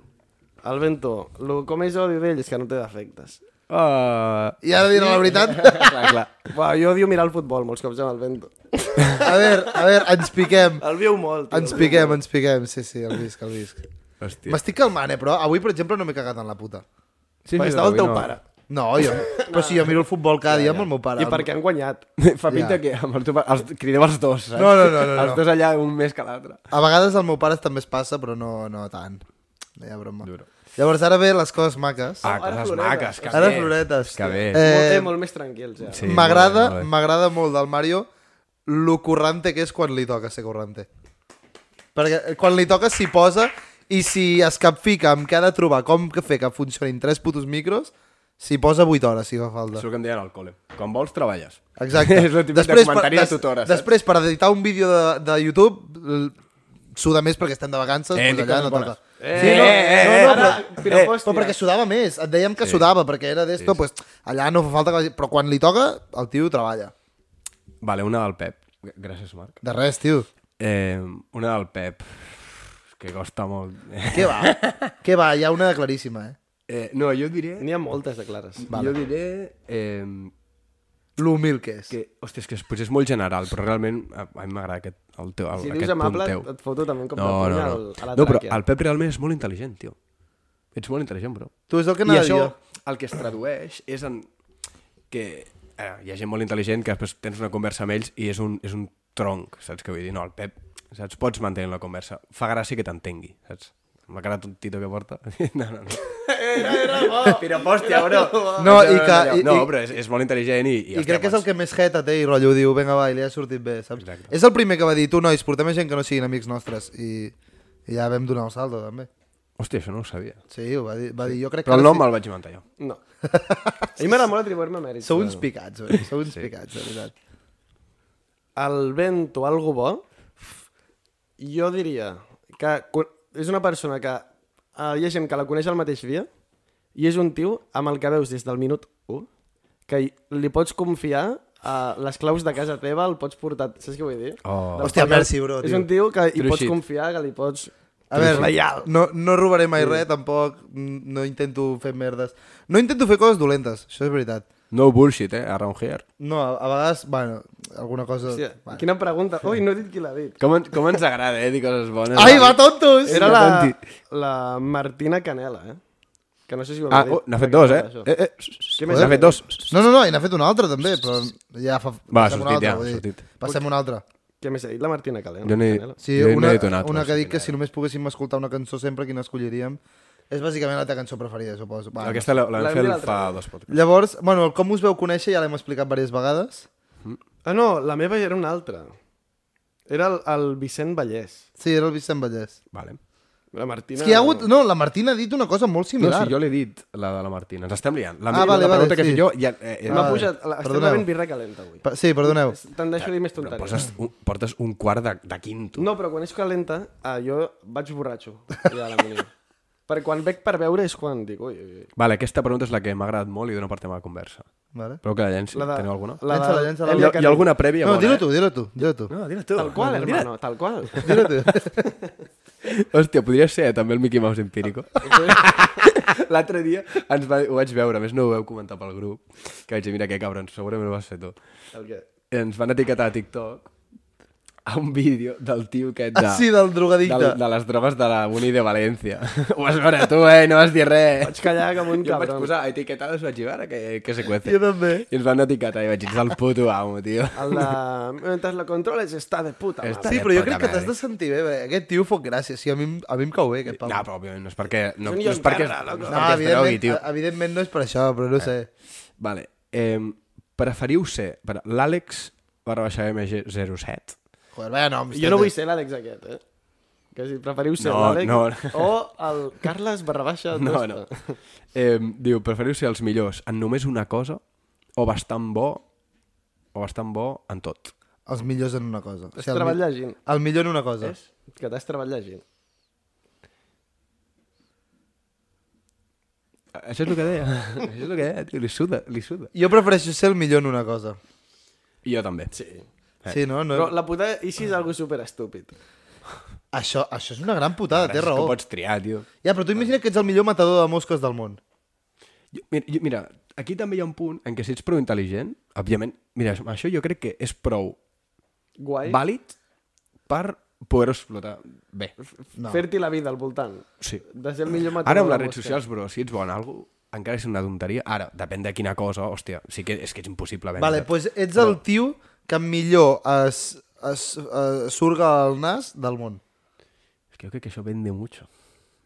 El Bento, lo, com és odi d'ell és que no té defectes.
Ah,
I ara diré la veritat.
clar, clar.
Buah, jo odio mirar el futbol molts cops amb el Bento.
A veure, a veure, ens piquem.
El viu molt. Tio.
Ens piquem, ens piquem. Sí, sí, el visc, el visc.
Hòstia.
M'estic calmant, eh, però avui, per exemple, no m'he cagat en la puta.
Sí,
Perquè
sí,
estava el
avui
teu
no.
pare.
No, jo... Però si jo miro el futbol cada dia amb el meu pare.
I perquè han guanyat.
Fa pinta
Ja.
que amb el teu pare... Els, crideu els dos, saps?
No, no, no, no,
Els
no.
dos allà, un més que l'altre.
A vegades el meu pare també es passa, però no, no tant. No hi ha broma.
Duro.
Llavors ara ve les coses maques.
Ah,
ara
coses
floretes.
maques, que
Ara
bé.
floretes,
Que
tio.
bé.
Eh,
Molt, eh, molt més tranquils, ja.
Sí,
Sí,
molt bé,
m'agrada
molt bé.
m'agrada molt del Mario lo currante que és quan li toca ser currante. Perquè eh, quan li toca s'hi posa i si es capfica amb què ha de trobar com que fer que funcionin tres putos micros, s'hi posa 8 hores si fa falta.
Això que em deien al col·le. Quan vols, treballes.
Exacte.
és el típic de comentari de tutora, saps?
Després, per editar un vídeo de, de YouTube, l- suda més perquè estem de vacances,
Eh,
doncs
dic
allà
coses
no
bones.
toca.
Eh,
Sí, no, no, no, però, però,
eh,
però perquè sudava més. Et dèiem que sudava, perquè era d'esto, sí. pues, allà no fa falta que vagi... Però quan li toca, el tio treballa.
Vale, una del Pep. Gr- Gràcies, Marc.
De res, tio.
Eh, una del Pep, que costa molt.
Què va? Què va? Hi ha una claríssima, eh?
Eh, no, jo diré...
N'hi ha moltes de clares.
Vale. Jo diré... Eh,
L'humil que és.
que, hòstia, és que és- potser és molt general, però realment a, a mi m'agrada aquest, el teu, el,
Si dius
aquest
amable,
punt teu.
et foto també un cop
no,
de puny
no, no.
al- a la
no, però
tràquea.
el Pep realment és molt intel·ligent, tio. Ets molt intel·ligent, bro.
Tu és el que
I
anava
això,
això...
el que es tradueix és en... que eh, hi ha gent molt intel·ligent que després tens una conversa amb ells i és un, és un tronc, saps què vull dir? No, el Pep, saps? Pots mantenir la conversa. Fa gràcia que t'entengui, saps? Amb la cara tontito que porta. No, no, no. Però, hòstia, bro.
No, i que- i-
No,
i-
però és, és molt intel·ligent i...
I crec que és el que més jeta té i rotllo diu, vinga va, i li ha sortit bé, saps?
Exacte.
És el primer que va dir, tu nois, portem a gent que no siguin amics nostres i, i ja vam donar el saldo també.
Hòstia, això no ho sabia.
Sí, ho va dir, va dir jo crec
Però
que...
el
ara
nom el vaig inventar jo.
No. A mi m'agrada molt atribuir-me mèrits.
Sí, sou uns
però-
picats, oi? Sou uns sí. picats, de veritat.
El vento, algo bo, jo diria que co- és una persona que eh, hi ha gent que la coneix el mateix dia i és un tio amb el que veus des del minut 1 que hi- li pots confiar a les claus de casa teva, el pots portar... Saps què vull dir?
Oh.
Doncs
Hòstia,
perquè
merci, bro,
És
tio.
un tio que hi
True
pots
shit.
confiar, que li pots...
A veure,
Reial.
no, no robaré mai res, tampoc mm, no intento fer merdes. No intento fer coses dolentes, això és veritat.
No bullshit, eh? Around here.
No, a, a vegades, bueno, alguna cosa...
Hòstia,
bueno.
quina pregunta. Ui, no he dit qui l'ha dit.
Com, en- com ens agrada, eh? Dir coses bones.
Ai, va, tontos!
Era la, la Martina Canela, eh? Que no sé si ho hem
Ah,
dit.
oh, n'ha fet dos, eh?
Això.
eh, eh.
Què més
N'ha
ha
fet
fet?
dos.
No, no, no, i n'ha fet una altra també, però ja fa...
Va,
passem
ha
una
sortit
altra,
ja,
vull dir,
ha sortit.
Passem una altra.
Què més ha dit la Martina Canela?
Jo n'he-
Canela?
Sí,
Jo n'he
una,
dit una altra,
una que
sí,
dic que si només poguéssim escoltar una cançó sempre, quina escolliríem? És bàsicament la teva cançó preferida, suposo. Va, no
Aquesta la, la vam
L'hem
fer
dit l'altre
fa
dia.
dos podcasts.
Llavors, bueno, el com us veu conèixer ja l'hem explicat diverses vegades.
Ah, no, la meva era una altra. Era el, el Vicent Vallès.
Sí, era el Vicent Vallès.
Vale.
La Martina...
És que hi ha hagut... No, la Martina ha dit una cosa molt
No,
similar.
si jo l'he dit, la de la Martina. Ens estem liant. La,
Ah,
ah,
vale,
vale, la
vale,
pregunta que he
sí.
fet jo... Ja, eh, eh,
M'ha
Ah,
pujat... La, estem
perdoneu.
bevent birra calenta avui.
Pa- Sí, perdoneu.
Te'n deixo dir més
però
tonteries.
poses un, portes un quart de, de quinto.
No, però quan és calenta, ah, jo vaig borratxo. Ja, la mínima. per quan bec per veure és quan dic... Ui, ui, ui.
Vale, aquesta pregunta és la que m'ha agradat molt i dona per tema de conversa.
Vale.
Però que la llenci.
La de-
Teniu alguna?
La
Llença-la,
de-
llença-la.
Elia
Hi, ha, hi
Carrillo.
ha alguna prèvia?
No,
bona,
dilo
eh?
tu, dilo tu, dilo tu.
No, dila tu.
Tal qual,
Dila.
hermano, tal qual.
Dilo tu.
Hòstia, podria ser eh, també el Mickey Mouse empírico. L'altre dia ens va, ho vaig veure, a més no ho veu comentar pel grup, que vaig dir, mira que cabrons, segurament ho vas fer tu.
El que...
Ens van etiquetar a TikTok a un vídeo del tio aquest de...
Ah, sí, del drogadicte.
de, de les drogues de la Uni de València. Ho vas veure tu, eh? No vas dir res.
Vaig callar com un
Jo em vaig
cabron.
posar etiquetades, vaig dir, ara que, que se cuece.
Jo també. Ah,
I ens van etiquetar i vaig dir, ets el puto amo, tio.
El de... Mentre la controles està de puta.
Està-
madre.
Sí, però jo
puta
crec que t'has
madre.
de sentir bé, perquè aquest tio fot gràcies. Sí, a mi, em- a mi em cau bé, aquest
No,
pau.
però òbviament no és perquè... No,
És un
no és perquè,
Ioncarra,
no
loco.
és
no
perquè es drogui,
Ah, evidentment,
tio. Eh.
evidentment no és per això, però no sé.
Vale. Eh, preferiu ser... per- L'Àlex barra baixa MG07
Joder, vaya noms.
Jo no
tio.
vull ser l'Àlex aquest, eh? Que si preferiu ser
No,
l'Àlex
no.
o el Carles barra baixa
No,
Tosta.
no. Eh, diu, preferiu ser els millors en només una cosa o bastant bo o bastant bo en tot.
Els millors en una cosa. O
T'has
sigui, el,
treballat
mi-
llegint.
el millor en una cosa.
És que t'has treballat llegint.
Això és el que deia. Això és el que deia, tio. Li suda, li suda.
Jo prefereixo ser el millor en una cosa.
Jo també. Sí. Eh.
Sí, no? no...
Però la puta... I si és algo superestúpid?
Això, això és una gran putada, té raó.
Que pots triar, tio.
Ja, però tu imagina que ets el millor matador de mosques del món.
Jo, mira, jo, mira, aquí també hi ha un punt en què si ets prou intel·ligent, òbviament, mira, això jo crec que és prou
Guai.
vàlid per poder-ho explotar bé.
No. Fer-t'hi la vida al voltant.
Sí.
De ser el millor matador.
Ara amb
de
les redes
mosques.
socials, bro, si ets bon en alguna cosa, encara és una tonteria. Ara, depèn de quina cosa, hòstia, sí que, és que és impossible vendre.
Vale, doncs ets el tio que millor es, es, es surga el nas del món.
És que jo crec que això vende mucho.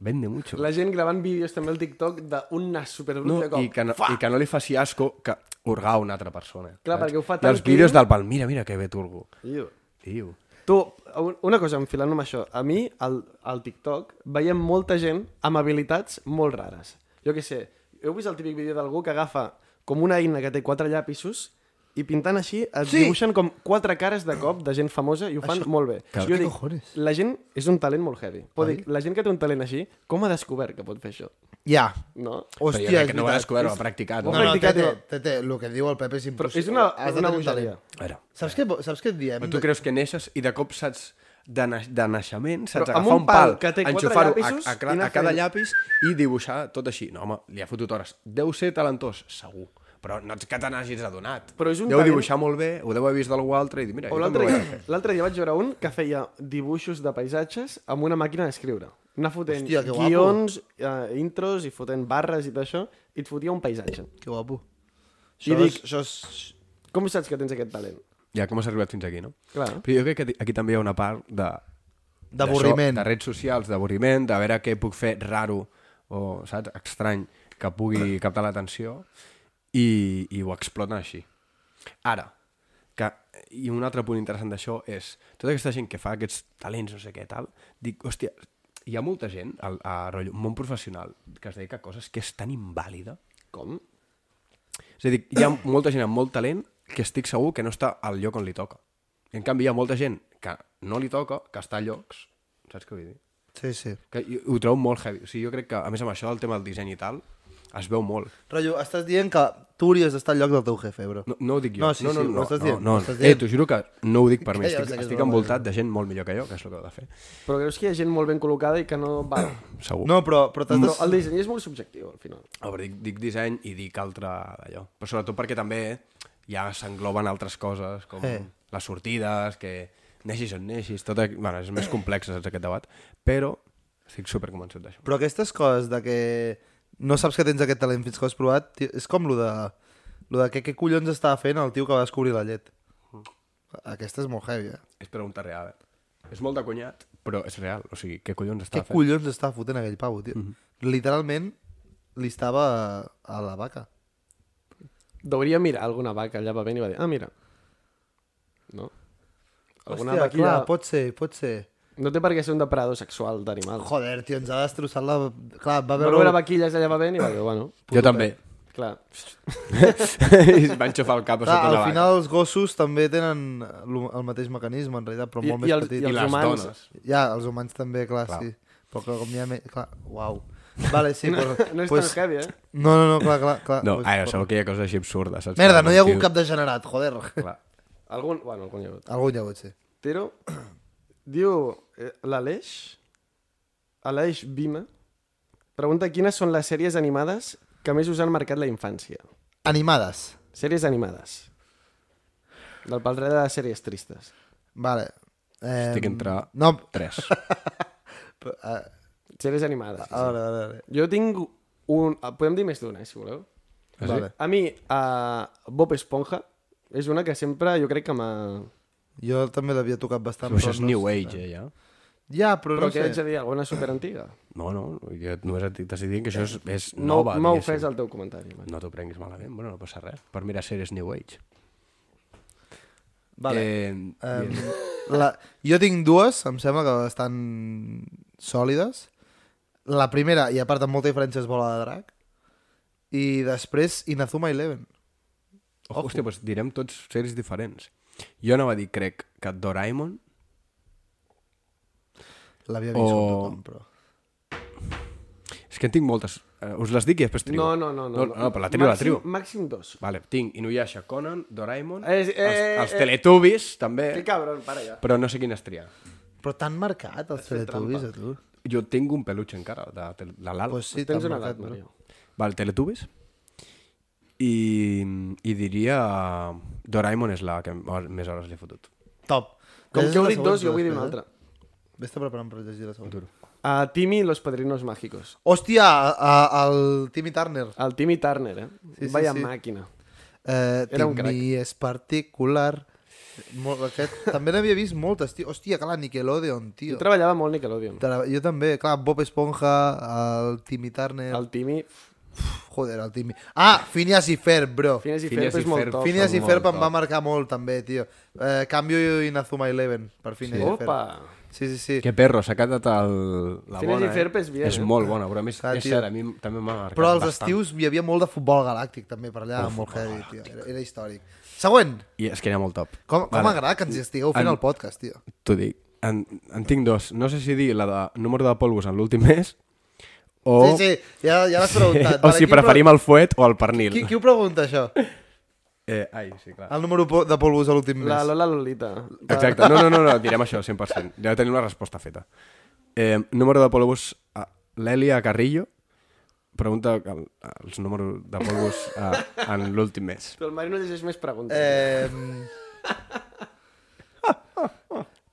Vende mucho.
La gent gravant vídeos també al TikTok d'un nas superbrut
No,
de cop.
i, que no,
Fa!
I que no li faci asco que hurgar a una altra persona.
Clar,
saps?
perquè ho fa
I
tan
els vídeos
tio.
del pal, mira, mira que bé turgo.
Iu.
Tio.
Tu, un- una cosa, enfilant-ho amb això. A mi, al, al TikTok, veiem molta gent amb habilitats molt rares. Jo què sé, heu vist el típic vídeo d'algú que agafa com una eina que té quatre llapisos i pintant així et
Sí.
sí. dibuixen com quatre cares de cop de gent famosa i ho fan Això... molt bé.
Cal-
Jo
Què
dic,
cojones?
la gent és un talent molt heavy. Però dic, la gent que té un talent així, com ha descobert que pot fer això?
Ja.
No?
Hòstia,
Hòstia,
Però
és
jo no ho ha
veritat.
descobert, ho ha practicat.
Ho
No,
No?
ha
no,
practicat,
Tete,
no.
Tete, el que diu el Pepe és
Però
impossible.
és una,
Has de
una
tenir un
bogeria.
talent.
A veure,
Saps què, saps què et diem?
Quan tu creus que neixes i de cop saps de, na de naixement, saps
Però amb
agafar
un
un pal,
pal que té quatre
enxufar-ho a,
llapisos
a,
i
cla-
anar
a cada
fent.
llapis i dibuixar tot així. No, home, li ha fotut hores. Deu ser talentós, segur. Però no ets que te n'hagis adonat.
Però és un
deu
talent-
dibuixar molt bé, ho deu haver vist d'algú altre i dir, mira,
O
jo també
l'altre
ho vaig
dia, l'altre dia vaig veure un que feia dibuixos de paisatges amb una màquina d'escriure. Anar fotent
Hòstia, que guapo.
guions, eh, intros i fotent barres i tot això, i et fotia un paisatge.
Que guapo.
I
Això és,
dic-
això és...
Com saps que tens aquest talent?
Ja, com has arribat fins aquí, no?
Clar.
Però jo crec que aquí també hi ha una part de...
D'avorriment.
d'això, De redes socials, d'avorriment, de veure què puc fer raro o, saps, estrany, que pugui captar l'atenció i, i ho exploten així. Ara, que, i un altre punt interessant d'això és tota aquesta gent que fa aquests talents, no sé què, tal, dic, hòstia, hi ha molta gent al, a rotllo, món professional que es dedica a coses que és tan invàlida
Com?
és a dir, hi ha molta gent amb molt talent que estic segur que no està al lloc on li toca. En canvi, hi ha molta gent que no li toca, que està a llocs, saps què vull dir?
Sí, sí.
Que jo- ho trobo molt heavy. O sigui, jo crec que, a més amb això del tema del disseny i tal, es veu molt.
Rotllo, estàs dient que tu hauries d'estar al lloc del teu jefe, bro.
No, no ho dic jo.
No, sí,
no, no,
sí,
no,
ho estàs
no,
dient,
no,
ho estàs
Eh,
dient.
t'ho juro que no ho dic per mi.
Que ja ho
Estic,
sé que és
estic
broma, eh.
envoltat de gent molt millor que jo, que és el que heu de fer.
Però creus que hi ha gent molt ben col·locada i que no val.
Segur.
No, però, però t'has de...
Però el disseny és molt subjectiu, al final.
A veure, dic, dic disseny i dic altre d'allò. Però sobretot perquè també ja s'engloben altres coses, com
Eh.
eh. les sortides, que neixis on neixis, tot... aqu- Bueno, és més complex, saps, aquest debat. Però estic superconvençut d'això.
Però aquestes coses de que no saps que tens aquest talent fins que ho has provat, tio, és com lo de, lo de que què collons estava fent el tio que va descobrir la llet. Aquesta és molt heavy, eh?
És pregunta real, eh? És molt de cunyat, però és real. O sigui, què collons
Què
està fent? Mhm.
collons estava fotent aquell pavo, tio? Literalment li estava a la vaca.
Deuria mirar alguna vaca allà va venir i va dir, ah, mira. No? Alguna
Hòstia,
vaquilla...
clar, pot ser, pot ser.
No té per què ser un depredador sexual d'animal.
Joder, tio, ens ha destrossat la... Clar, va
Va
veure...
veure vaquilles allà va venir i va dir, bueno,
Jo també.
clar.
I va enxufar el cap a
Clar,
sota
al
una vaca.
final els gossos també tenen lo- el mateix mecanisme, en realitat, però
I, i,
molt més
els,
petit.
I els
les
humans...
dones.
Ja, els humans també, clar, clar.
Clar.
sí. Però clar, com hi ha més... Clar, uau. Vale, sí, però...
No és
pues,
tan heavy, eh?
No, no, no, clar, clar. clar
No,
pues,
ara, segur que hi ha coses així absurdes, saps?
Merda,
Com
no hi ha
un
hagut
tio-
cap degenerat, joder.
Clar.
Algun, bueno, algun hi ha hagut.
Algun hi ha hagut, sí.
Tiro, diu eh, l'Aleix, Aleix Vima, pregunta quines són les sèries animades que més us han marcat la infància.
Animades.
Sèries animades. Del pal darrere de sèries tristes.
Vale. Eh,
Estic entre
No,
tres.
però, a,
Sèries animades.
Ah,
a veure, a veure.
Jo tinc un... ah, Podem dir més d'una, eh, si voleu.
A
Ah,
veure. Vale.
A mi, uh, Bob Esponja és una que sempre jo crec que m'ha...
Jo també l'havia tocat bastant.
Això és
no
New
sé.
Age, eh, ja.
Ja, però,
Però
no
què haig
sé.
de dir? Alguna superantiga?
No, no, jo només et estic dient que això és, és
No,
nova,
m'ha
diguéssim.
ofès el teu comentari. Marc.
No t'ho prenguis malament, bueno, no passa res. Per mirar sèries New Age.
Vale.
Eh,
Em,
digues.
la, jo tinc dues, em sembla que bastant sòlides. La primera, i a part amb molta diferència, és Bola de Drac. I després Inazuma Eleven.
oh, hòstia, doncs direm tots sèries diferents. Jo anava a dir, crec, que Doraemon...
L'havia vist
O-
o... tothom, però...
És que en tinc moltes. Eh, us les dic i després trio.
No, no, no.
No, no, però la trio, la
màxim,
trio.
Màxim dos.
Vale, tinc Inuyasha, Conan, Doraemon,
Eh, eh,
els, els
eh,
Teletubbies, també,
Que cabron, para ja.
però no sé quines triar.
Però t'han marcat els Teletubbies, a tu?
Jo tinc un peluche encara, de, tel- de l'Al.
Pues sí,
Tens
t'han
una
marcat,
edat,
bro.
Mario.
Vale, Teletubbies. I, I diria... Doraemon és la que més hores li he fotut.
Top.
Com
Aquesta
que heu
és la
dit dos,
següent,
jo vull dir
després,
una altra.
eh? Vés-te preparant per llegir la següent.
A Timmy i los padrinos mágicos.
Hòstia, a, a, el Timmy Turner.
El Timmy Turner, eh?
Sí, sí,
Vaya
sí.
màquina.
Eh,
Era un
Timmy és particular. Molt, aquest, també n'havia vist moltes, tio. Hòstia, clar, Nickelodeon, tio.
Jo treballava molt Nickelodeon.
Tra- Jo també, clar, Bob Esponja, el Timmy Turner... El...
El Timmy...
Joder, el Timmy... Ah, Phineas i Ferb, bro.
Phineas i
Phineas
Ferb
i
és molt
Ferb.
top.
Phineas i
Molt
Ferb em
top.
va marcar molt, també, tio. Eh, canvio Inazuma Eleven per Phineas i Ferb.
Opa!
Sí, sí, sí.
Que perro, s'ha quedat el, la
Phineas
bona,
i Ferb
eh?
és bien,
És
eh?
molt bona, però a més,
Clar,
és
tio.
cert, a mi també m'ha marcat
Però als
bastant.
estius hi havia molt de futbol galàctic, també, per allà, molt heavy, tio. Era, era històric. Següent.
I és que era molt top.
Com, com
Vale.
m'agrada que ens hi estigueu fent
En-
el podcast, tio.
T'ho dic. En, en tinc dos. No sé si dir la de número de polvos en l'últim mes o...
Sí, sí, ja, ja l'has preguntat.
o si
qui ho pre-
preferim el fuet o el pernil.
Qui, Ah, qui ho pregunta, això?
Eh, ai, sí, clar.
El número po- de polvos a l'últim mes.
La Lola Lolita.
Exacte. No, no, no, no, direm això 100%. Ja tenim la resposta feta. Eh, número de polvos a l'Elia Carrillo pregunta el, els números de polvos a, en l'últim mes.
Però el Mari no llegeix més preguntes.
Eh...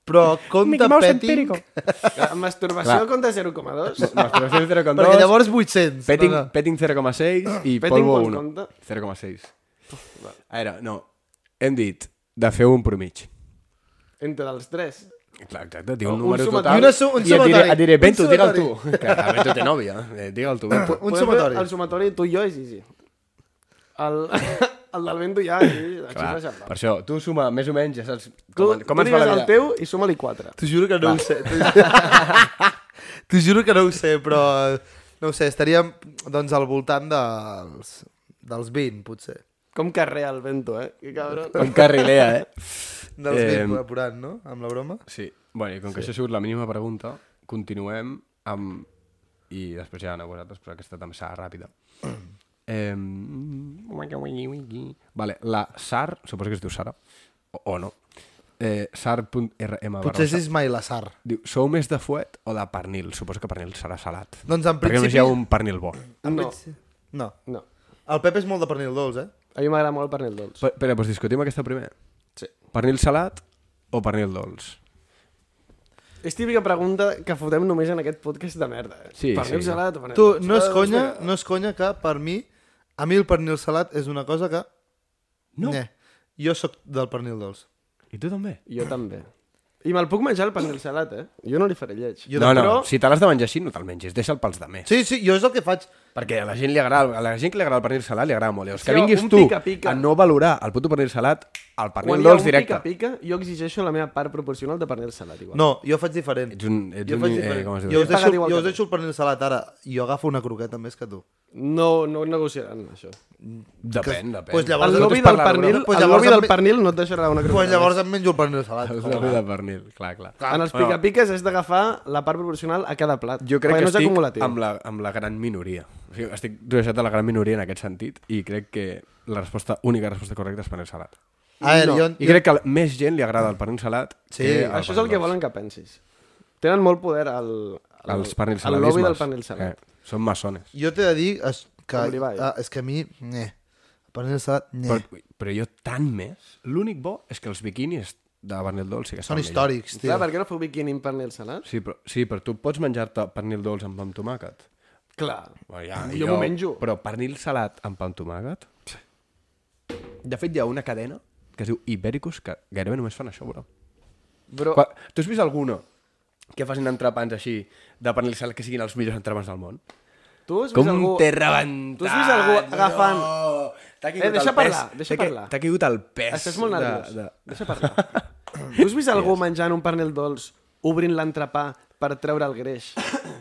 Però compta petting...
La masturbació
clar.
compta 0,2.
Masturbació 0,2,
Perquè llavors 800.
petting,
no, no.
petting 0,6 i
Petting
polvo
quant
1.
compta?
0,6. A veure, no, hem dit de fer un promig.
Entre els tres.
Clar, exacte, diu un,
Un
número
sumatori.
total.
I una su- un
i et diré,
sumatori.
et diré
Un
Bento, digue'l tu.
sumatori.
Que la Bento té nòvia. Eh, digue'l tu. Bento.
Un
Podem
sumatori.
fer El sumatori tu i jo és Gigi. El, el del vento ja, Gigi. La
Clar,
xifra ja
per això, tu suma més o menys, ja saps
Tu,
com,
tu
com ens va
digues
la
el
vida.
teu i suma-li 4.
T'ho juro que no ho sé. T'ho t'ho juro que no ho sé, però... No ho sé, estaríem doncs, al voltant dels, dels 20, potser.
Com carrer el vento, eh? Que cabron.
Un carrilea, eh?
Dels
Eh,
20 apurant, no? Amb la broma.
Sí. Bueno, i com que això ha sigut la mínima pregunta, continuem amb... I després ja aneu vosaltres, però aquesta també serà ràpida. eh... Vale, la Sar, suposo que es diu Sara, o, o no, eh, sar.rm
Potser és Ismail Azar.
Diu, sou més de fuet o de pernil? Suposo que pernil serà salat.
Doncs en
Perquè només
principi...
hi ha un pernil bo.
No,
No.
no.
El Pep és molt de pernil dolç, eh?
A mi m'agrada molt el pernil dolç.
Però, però doncs discutim aquesta primer.
Sí.
Pernil salat o pernil dolç?
És típica pregunta que fotem només en aquest podcast de merda. Eh?
Sí,
pernil
sí.
gelat o pernil
Tu,
dolç?
no és
Ah,
conya,
espera.
no és conya que per mi, a mi el pernil salat és una cosa que...
No.
Nyeh. jo sóc del pernil dolç.
I tu també?
Jo també. I me'l puc menjar el pernil salat, eh? Jo no li faré lleig.
Jo
no,
de-
no,
però-
si te l'has de menjar així, no te'l mengis, deixa'l pels de més.
Sí, sí, jo és el que faig.
Perquè a la gent li agrada, a la gent que li agrada el pernil salat li agrada molt. Llavors,
Sí,
que vinguis
un
tu
pica-pica.
a no valorar el puto pernil salat, el
Quan
pernil
hi ha
dolç
un
directe.
pica-pica, jo exigeixo la meva part proporcional de pernil salat, igual.
No, jo faig diferent.
Ets un... Ets
Jo
un
faig
eh,
diferent.
com es diu?
jo, us
He
deixo,
pagat igual que
jo us
tu.
deixo el pernil salat ara. Jo agafo una croqueta més que tu.
No, no ho negociaran, això.
Depèn, depèn.
Pues Doncs llavors-
El
Nosaltres
lobby del
parlant,
pernil,
pues
el
llavors
lobby del
amb-
pernil no et deixarà una
Doncs
croqueta.
pues llavors em menjo el pernil salat.
El lobby de pernil, clar, clar.
En els pica-piques has d'agafar la part proporcional a cada plat.
Jo crec
perquè
que
no és
estic
acumulatiu.
amb la, amb la gran minoria. O sigui, estic relacionat a la gran minoria en aquest sentit i crec que la resposta única resposta correcta és pernil salat.
A veure, jo,
I crec que a més gent li agrada el pernil salat
Sí,
que
Això és el que volen que pensis. Tenen molt poder al, al,
els pernil
al
saladismes.
lobby del pernil salat.
Eh, són maçones.
jo t'he de dir es, que,
Com l'Ibai.
ah, és que a mi... Eh, el pernil salat... Eh.
Però, però jo tant més... L'únic bo és que els biquinis de pernil dolç sí que
Són
saben
històrics, tio.
Clar, per què no feu biquini amb pernil salat?
millor. Sí però, sí, però tu pots menjar-te pernil dolç amb pa amb tomàquet.
Clar.
Bueno, ja,
Jo m'ho menjo.
Però pernil salat amb pa amb tomàquet... De fet, hi ha una cadena que es diu Ibericus que gairebé només fan això, bro.
Però,
Qua- Tu has vist alguna que facin entrepans així de pernil salat que siguin els millors entrepans del món?
tu has vist
Com
algú...
t'he rebentat.
Tu has vist algú agafant-
No. T'ha caigut
Eh, deixa
el pes.
parlar, deixa
T'ha ca-
parlar.
T'ha caigut el pes.
Estàs molt
de-
nerviós.
de-
Deixa parlar. tu has vist algú menjant un pernil dolç, obrint l'entrepà per treure el greix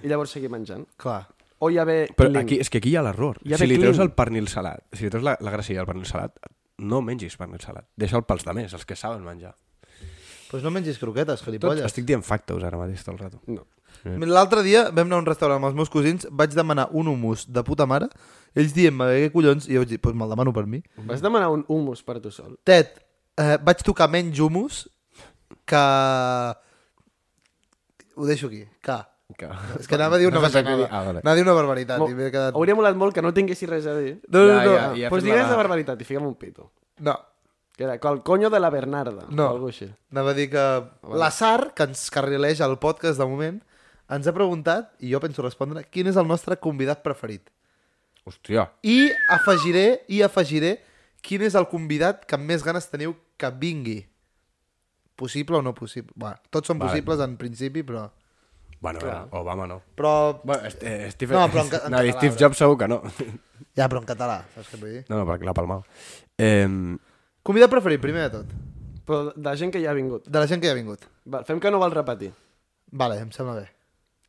i llavors seguir menjant?
Clar.
O hi ha bé...
Però
clean?
aquí, és que aquí hi ha l'error.
Hi ha
Si
bé
li
clean.
treus el pernil salat, si li treus la, la gracilla del pernil salat, no mengis pernil salat. Deixa'l pels demés, els que saben menjar.
Pues no mengis croquetes,
Tot,
gilipolles.
estic dient factos ara mateix tot el rato.
No.
L'altre dia vam anar a un restaurant amb els meus cosins, vaig demanar un hummus de puta mare, ells dient-me què collons, i jo vaig dir, pues me'l demano per mi.
Vas demanar un hummus per tu sol.
Ted, eh, vaig tocar menys hummus que... Ho deixo aquí, que...
Que...
És que anava a dir una
No sé què
barbaritat.
dir. Ah, vale.
Anava a dir una barbaritat
Mo-
i m'he quedat...
Hauria molat molt que no tinguessis res a dir.
No, no,
Ja,
no.
ja,
Doncs
ja.
pues
fes
digues
la-
la barbaritat i fiquem un pito.
No,
Que era el coño de la Bernarda.
no.
O alguna així.
Anava a dir que
Ah,
la Sar, que ens carrileix al podcast de moment, ens ha preguntat, i jo penso respondre, quin és el nostre convidat preferit.
Hòstia.
I afegiré, i afegiré, quin és el convidat que amb més ganes teniu que vingui. Possible o no possible? Bé, tots són
Vale.
possibles en principi, però...
Bueno, Clar. Obama no.
Però...
Bueno, este, eh, Steve...
No, però en ca- en
no, i
català,
Steve
bro.
Jobs segur que no.
Ja, però en català, saps què vull dir?
No, no, perquè l'ha palmat. Eh,
Convidat preferit, primer de tot.
Però de la gent que ja ha vingut.
De la gent que hi ha vingut.
Va, fem que no val repetir.
Vale, em sembla bé.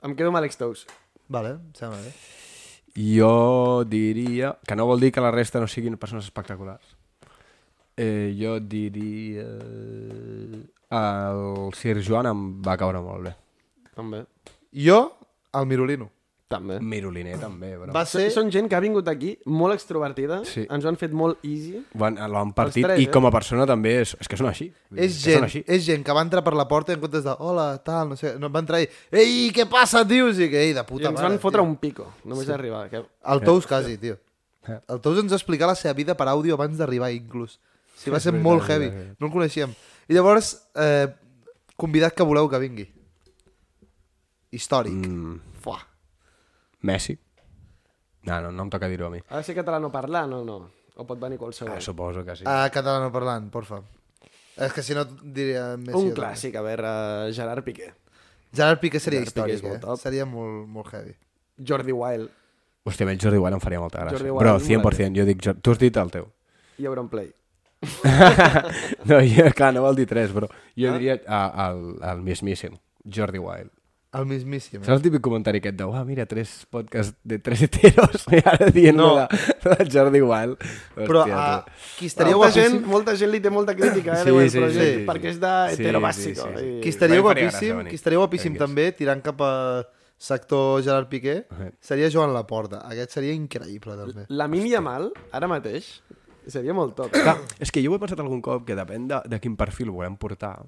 Em quedo amb Alex Tous.
Vale, em sembla bé.
Jo diria... Que no vol dir que la resta no siguin persones espectaculars. Eh, jo diria... El Sir Joan em va caure molt bé.
També.
Jo, el Mirolino.
També.
Mm. Miroliner també, però...
Va
Sí.
ser...
Són gent que ha vingut aquí molt extrovertida,
Sí.
ens ho han fet molt easy.
Van, l'han partit
tres,
tres, i
eh?
com a persona també és, és que són així. Vull dir,
És
que
gent,
Són així.
és gent que va entrar per la porta i en comptes de hola, tal, no sé, no, va entrar i ei, què passa, tios? I que, ei, de
I
puta
ens
mare,
van fotre
tio.
un pico, només sí. d'arribar. Que...
El Tous quasi, tio.
Eh.
El Tous ens va explicar la seva vida per àudio abans d'arribar, inclús. Sí, va
És
ser
veritat,
molt
és
heavy.
veritat,
No el coneixíem. I llavors, eh, convidat que voleu que vingui. Històric.
Mm,
Fuà.
Messi. No, no, no em toca dir-ho a mi.
Ha de ser catalano parlar, no, no. O pot venir qualsevol.
Ah, suposo que sí.
A catalano parlant, porfa. És que si no diria... Messi
un
o-
clàssic, a veure, Gerard Piqué.
Gerard Piqué seria
Gerard Piqué
històric,
és molt
eh?
top.
Seria molt, molt heavy.
Jordi Wild
Hòstia, a mi el Jordi Wild em faria molta gràcia.
Jordi Wild,
Però
molt
100%, jo dic... Jor- Tu has dit el teu.
i Auronplay.
no, jo, clar, no vol dir tres, però jo diria ah, el, el mismíssim, Jordi Wild.
El mismíssim. Eh?
Saps el típic comentari aquest de, uah, mira, tres podcasts de tres heteros, i ara dient no.
No.
de, de Jordi Wild. Hòstia,
Però ah. a,
tu.
qui estaria
Molta gent,
guapíssim...
molta gent li té molta crítica, eh,
Sí,
sí,
sí,
sí, projecte,
sí, sí.
perquè és de
Sí,
heterobàsico.
sí, sí, sí.
Qui
I...
estaria
Em faria gràcia
guapíssim,
venir.
qui estaria guapíssim
Vingues.
també, tirant cap a sector Gerard Piqué,
Eh.
seria Joan Laporta. Aquest seria increïble, també.
La mínia mal, ara mateix, seria molt top.
Clar, és que jo ho he pensat algun cop, que depèn de, de quin perfil ho volem portar.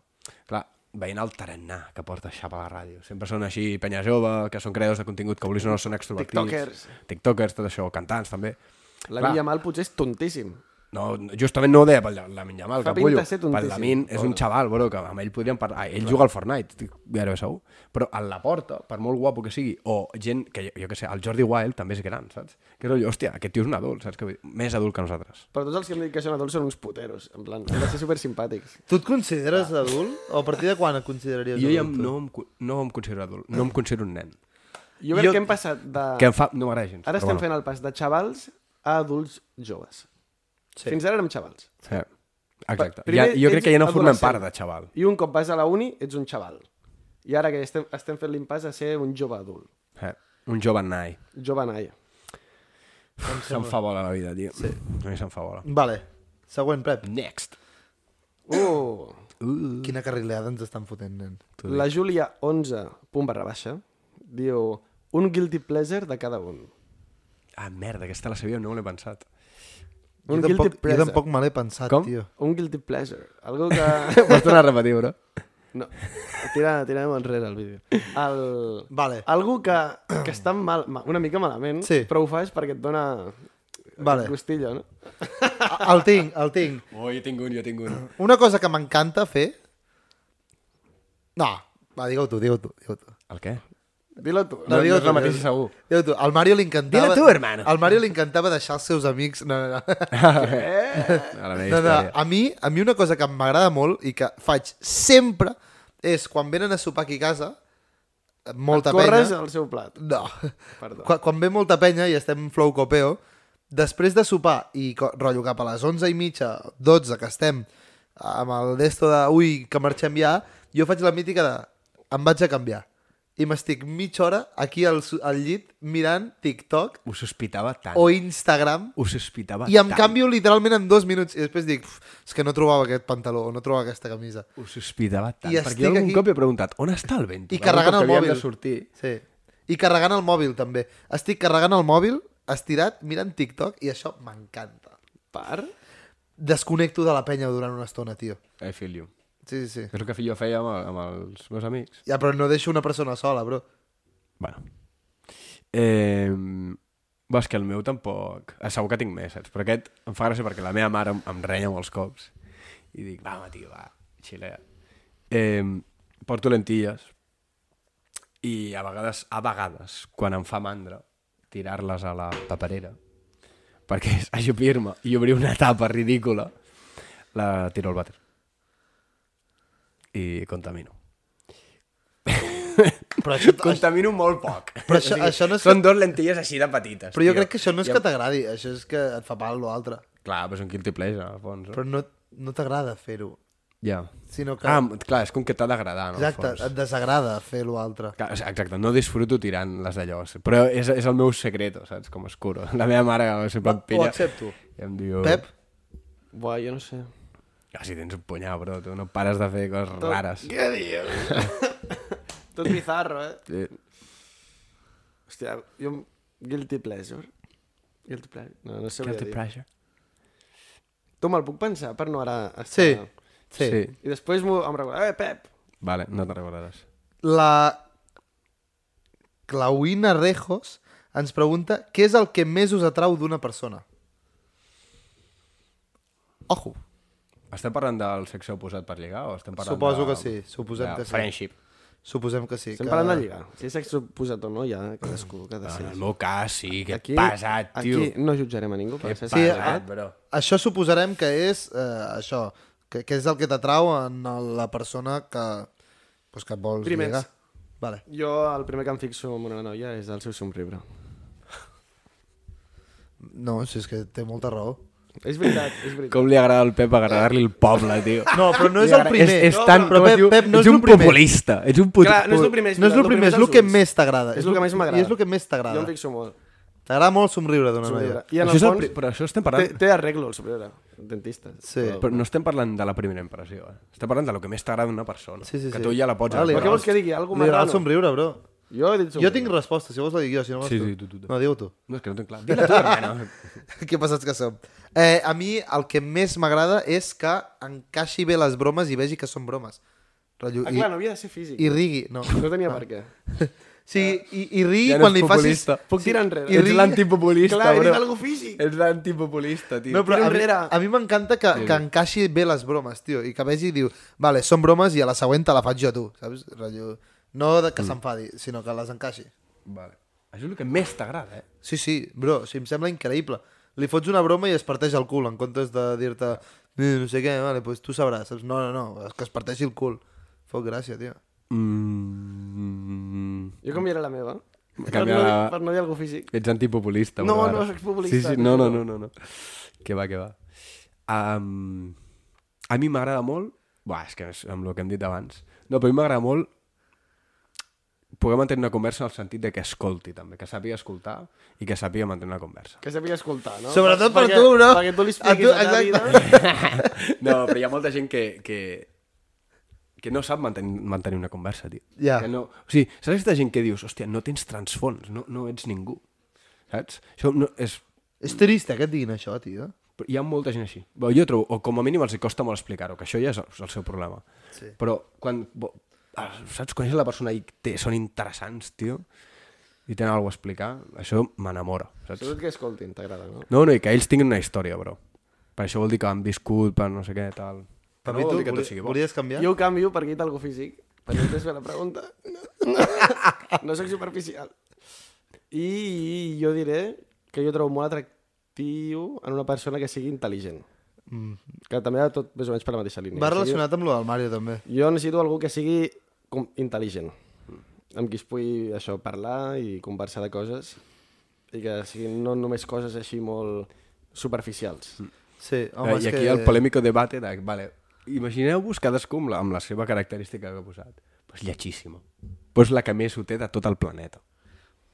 Clar, veient el tarannà que porta xapa a la ràdio. Sempre són així, penya jove, que són creadors de contingut, que vulguis o no són extrovertits.
Tiktokers.
Tiktokers, tot això, cantants, també.
La
Clar.
mínia mal potser és tontíssim.
No, justament no ho deia pel Lamin Yamal,
Fa
capullo.
pinta ser tontíssim.
Pel Lamin és un xaval, bro, que amb ell podríem parlar. Ah, ell juga al Fortnite, estic gairebé segur. Però en la porta, per molt guapo que sigui, o gent que, jo, jo què sé, el Jordi Wild també és gran, saps? Que rotllo, hòstia, aquest tio és un adult, saps? Que, vull dir, més adult que nosaltres.
Però tots els que hem dit que són adults són uns puteros. En plan, han de ser super simpàtics.
Tu et consideres adult? O a partir de quan et consideraries
Jo ja em-
adult?
eh?
no em, co- no em considero adult, no em considero un nen.
Jo crec
Jo-
jo... que hem passat de...
Que em fa... No m'agrada gens.
Ara estem fent el pas de xavals a adults joves. Sí. Fins ara érem xavals.
fent... Sí. Exacte.
Primer
Ja, jo crec
ets
que ja no formem
adolescent.
part de xaval.
I un cop vas a la uni, ets un xaval. I ara que estem, estem fent l'impàs a ser un jove adult.
Eh. Un jove nai.
Jove naia.
Se'n fa bola la vida, tio. Sí. A mi se'n fa bola.
Vale. Següent, Pep.
Next.
Uh,
Uh.
Quina carrileada ens estan fotent, nen.
la Júlia 11, punt barra baixa, diu un guilty pleasure de cada un.
Ah, merda, aquesta la sabia, no me l'he pensat.
Un
jo, tampoc,
guilty
jo
pleasure.
tampoc me l'he pensat,
Com?
tio.
Un guilty pleasure. Algo que...
Pots tornar a repetir, bro?
No, tira, tirem enrere el vídeo. El...
Vale.
Ah,
Algú que, que està mal, ma- una mica malament,
Sí.
però ho fas perquè et dona
Vale.
gustillo, no?
Ah, El tinc, el tinc.
Oh, jo tinc un, jo tinc un.
Una cosa que m'encanta fer... No, va, digue-ho tu, digue-ho tu, digue-ho tu.
El què?
Dilo tu.
No,
digue-ho
no és la
tu,
mateixa,
digue-ho tu.
segur.
Digue-ho tu. Al Mario li encantava...
Dilo tu, hermano.
Al Mario li encantava deixar els seus amics... No, no, no.
A la meva
No, no,
història.
a mi, a mi una cosa que m'agrada molt i que faig sempre és quan venen a sopar aquí a casa, molta
Corres
penya...
al seu plat.
No.
Perdó.
Quan, quan ve molta penya i estem flow copeo, després de sopar i co- rotllo cap a les 11 i mitja, 12, que estem amb el desto de ui, que marxem ja, jo faig la mítica de em vaig a canviar. I m'estic mitja hora aquí al, su- al llit mirant TikTok
Ho sospitava tant.
o Instagram
Ho sospitava
i em
tant.
canvio literalment en dos minuts i després dic, "Uf, és que no trobava aquest pantaló o no trobava aquesta camisa.
Ho sospitava tant.
I
perquè jo
estic
algun
aquí-
cop he preguntat, on està el vento?
I carregant el mòbil.
de sortir.
Sí. I carregant el mòbil, també. Estic carregant el mòbil, estirat, mirant TikTok i això m'encanta.
Per?
Desconnecto de la penya durant una estona, tio.
I feel you.
Sí, sí, sí.
És el que jo feia amb, amb els meus amics.
Ja, però no deixo una persona sola, bro.
Bueno. Eh, va, és que el meu tampoc... Ah, Segur que tinc més, saps? Però aquest em fa gràcia perquè la meva mare em, em renya molts cops. I dic, va, home, tio, va, xilea. Eh, porto lentilles i a vegades, a vegades, quan em fa mandra, tirar-les a la paperera perquè és ajupir-me i obrir una tapa ridícula, la tiro al vàter. I contamino.
Però això,
Contamino molt poc.
Però això- això no és
Són dos lentilles així de petites.
però jo
tio.
crec que això no és que t'agradi, això és que et fa pal l'altre.
Clar, però és un guilty pleasure, al fons.
Però no, no t'agrada fer-ho,
Ja.
sinó que...
Ah, clar, és com que t'ha d'agradar, no? al
exacte,
fons.
et desagrada fer l'altre.
Clar, és- Exacte, no disfruto tirant les d'allò. Però és, és el meu secreto, saps? Com escuro. La meva mare sempre em pilla...
accepto.
I em diu...
Pep?
Buah, jo no sé.
Ah, si tens un punyal, bro, tu no pares de fer coses
Tot-
rares.
Què dius? Tot bizarro, eh?
Eh,
Hòstia, jo... Guilty pleasure. Guilty pleasure. No, no sé
guilty
què dir.
pleasure.
Tu me'l puc pensar per no ara...
Sí.
estar-
Sí.
Ah. Sí.
I després m'ho- em recordaré, eh, Pep!
Vale, no te'n recordaràs.
La Clauina Rejos ens pregunta què és el que més us atrau d'una persona. Ojo.
Estem parlant del sexe oposat per lligar o estem parlant
Suposo
de...
que sí, suposem
de
que sí.
Friendship.
Suposem que sí.
Estem
que...
parlant de lligar. Si és sexe posat o no, ja cadascú, cada
En el
ser.
meu cas, sí, que aquí, pesat, tio.
Aquí no jutjarem a ningú. Per ser
Sí,
sexe.
a-
Pesat, bro.
Això suposarem que és eh, això, que, que és el que t'atrau en el- la persona que, pues, que et vols
Primers.
lligar. Vale.
Jo el primer que em fixo en una noia és el seu somriure.
No, si és que té molta raó.
És veritat, és veritat.
Com li agrada al Pep agradar-li el poble, tio.
No, però no
Li
és el
agrada-
primer.
És, és tan...
No, però Pep,
tio,
Pep, no és
ets
el
un
primer.
populista. Ets un put...
Clar, no és el primer, és
No és el
veritat,
primer, és
els
el que
ulls.
més t'agrada.
És el que més m'agrada.
I és el que més
Jo em
t'agrada.
fixo molt.
T'agrada molt somriure d'una noia.
Somriure. I en
això
el
és el pri-
fons,
Però això estem
té,
parlant...
té arreglo el somriure. Dentista.
Sí.
Però no estem parlant de la primera impressió, eh? Estem parlant de lo que més t'agrada d'una persona.
Sí, sí, sí.
que tu ja la pots...
Vale,
Però què
vale.
vols que digui? Algo
Li agrada el
marrano?
somriure, bro.
Jo he dit somriure.
Jo tinc resposta, si vols la dic jo, si no vols
Sí,
tu.
sí, tu, tu, tu.
No, digue-ho tu.
No, és que no tinc clar. Dile tu, hermano.
que passats que som. Eh, a mi el que més m'agrada és que encaixi bé les bromes i vegi que són bromes. Rotllo,
Ah, clar, no havia de ser físic.
i, I rigui, no. Ah.
No tenia per què.
Sí, i, i rigui
Ja no
quan
és
li facis...
populista.
Puc tirar enrere.
I
Ets
rigui-
l'antipopulista,
Clar, he dit
bro.
algo físic.
Ets l'antipopulista, tio.
No, però
Tira
a mi,
enrere.
a mi m'encanta que, que encaixi bé les bromes, tio, i que vegi i diu, vale, són bromes i a la següent te la faig jo a tu, saps? Rotllo, no de
Mm.
que s'enfadi, sinó que les encaixi.
Vale. Això és el que més t'agrada, eh?
Sí, sí, bro, sí, em sembla increïble. Li fots una broma i es parteix el cul, en comptes de dir-te, "Eh, no sé què, vale, pues tu sabràs, saps? No, no, no, que es parteixi el cul. Fot gràcia, tio.
Mm...
Jo canviaré la meva.
Canvia
per, no,
la-
dir- per no dir algo físic.
Ets antipopulista.
No,
però
no
ara.
soc populista,
Sí, sí,
tio.
no, no, no, no, no. Que va, que va. Um, a mi m'agrada molt... Buah, és que és amb el que hem dit abans. No, però a mi m'agrada molt poder mantenir una conversa en el sentit de que escolti, també, que sàpiga escoltar i que sàpiga mantenir una conversa.
Que sàpiga escoltar, no?
Sobretot per
perquè,
tu, bro.
Perquè tu li
A tu,
expliquis a la
exacte.
vida.
No, però hi ha molta gent que, que, que no sap mantenir, mantenir una conversa, tio.
Ja.
Que no, o sigui, saps aquesta gent que dius, hòstia, no tens transfons, no, no ets ningú, saps? Això no, és,
És trist eh, que et diguin això, tio.
Però hi ha molta gent així. Bé, jo trobo, o com a mínim els hi costa molt explicar-ho, que això ja és el seu problema.
Sí.
Però quan... Bo, ah, saps? Coneixes la persona i té, són interessants, tio, i tenen alguna cosa a explicar, això m'enamora, saps?
Sobretot que escoltin, t'agrada, no?
No, no, i que ells tinguin una història, bro. Per això vol dir que han viscut, per no sé què, tal.
Per
Però no
mi,
vol
tu,
dir que
voli-
tot sigui bo.
volies canviar?
Jo ho canvio perquè he dit algo físic. Perquè després ve la pregunta. No, no soc superficial. I jo diré que jo trobo molt atractiu en una persona que sigui intel·ligent. Mm. Que també va tot més o menys per la mateixa línia.
Va
O sigui,
relacionat amb lo del Mario, també.
Jo necessito algú que sigui com intel·ligent, amb qui es pugui això, parlar i conversar de coses i que siguin no només coses així molt superficials.
Sí, home,
Home, Eh, I
és
aquí
que...
que... el polèmico debate de... Vale, imagineu-vos cadascú amb la, amb la seva característica que ha posat. Pues lletxíssima. Pues la que més ho té de tot el planeta.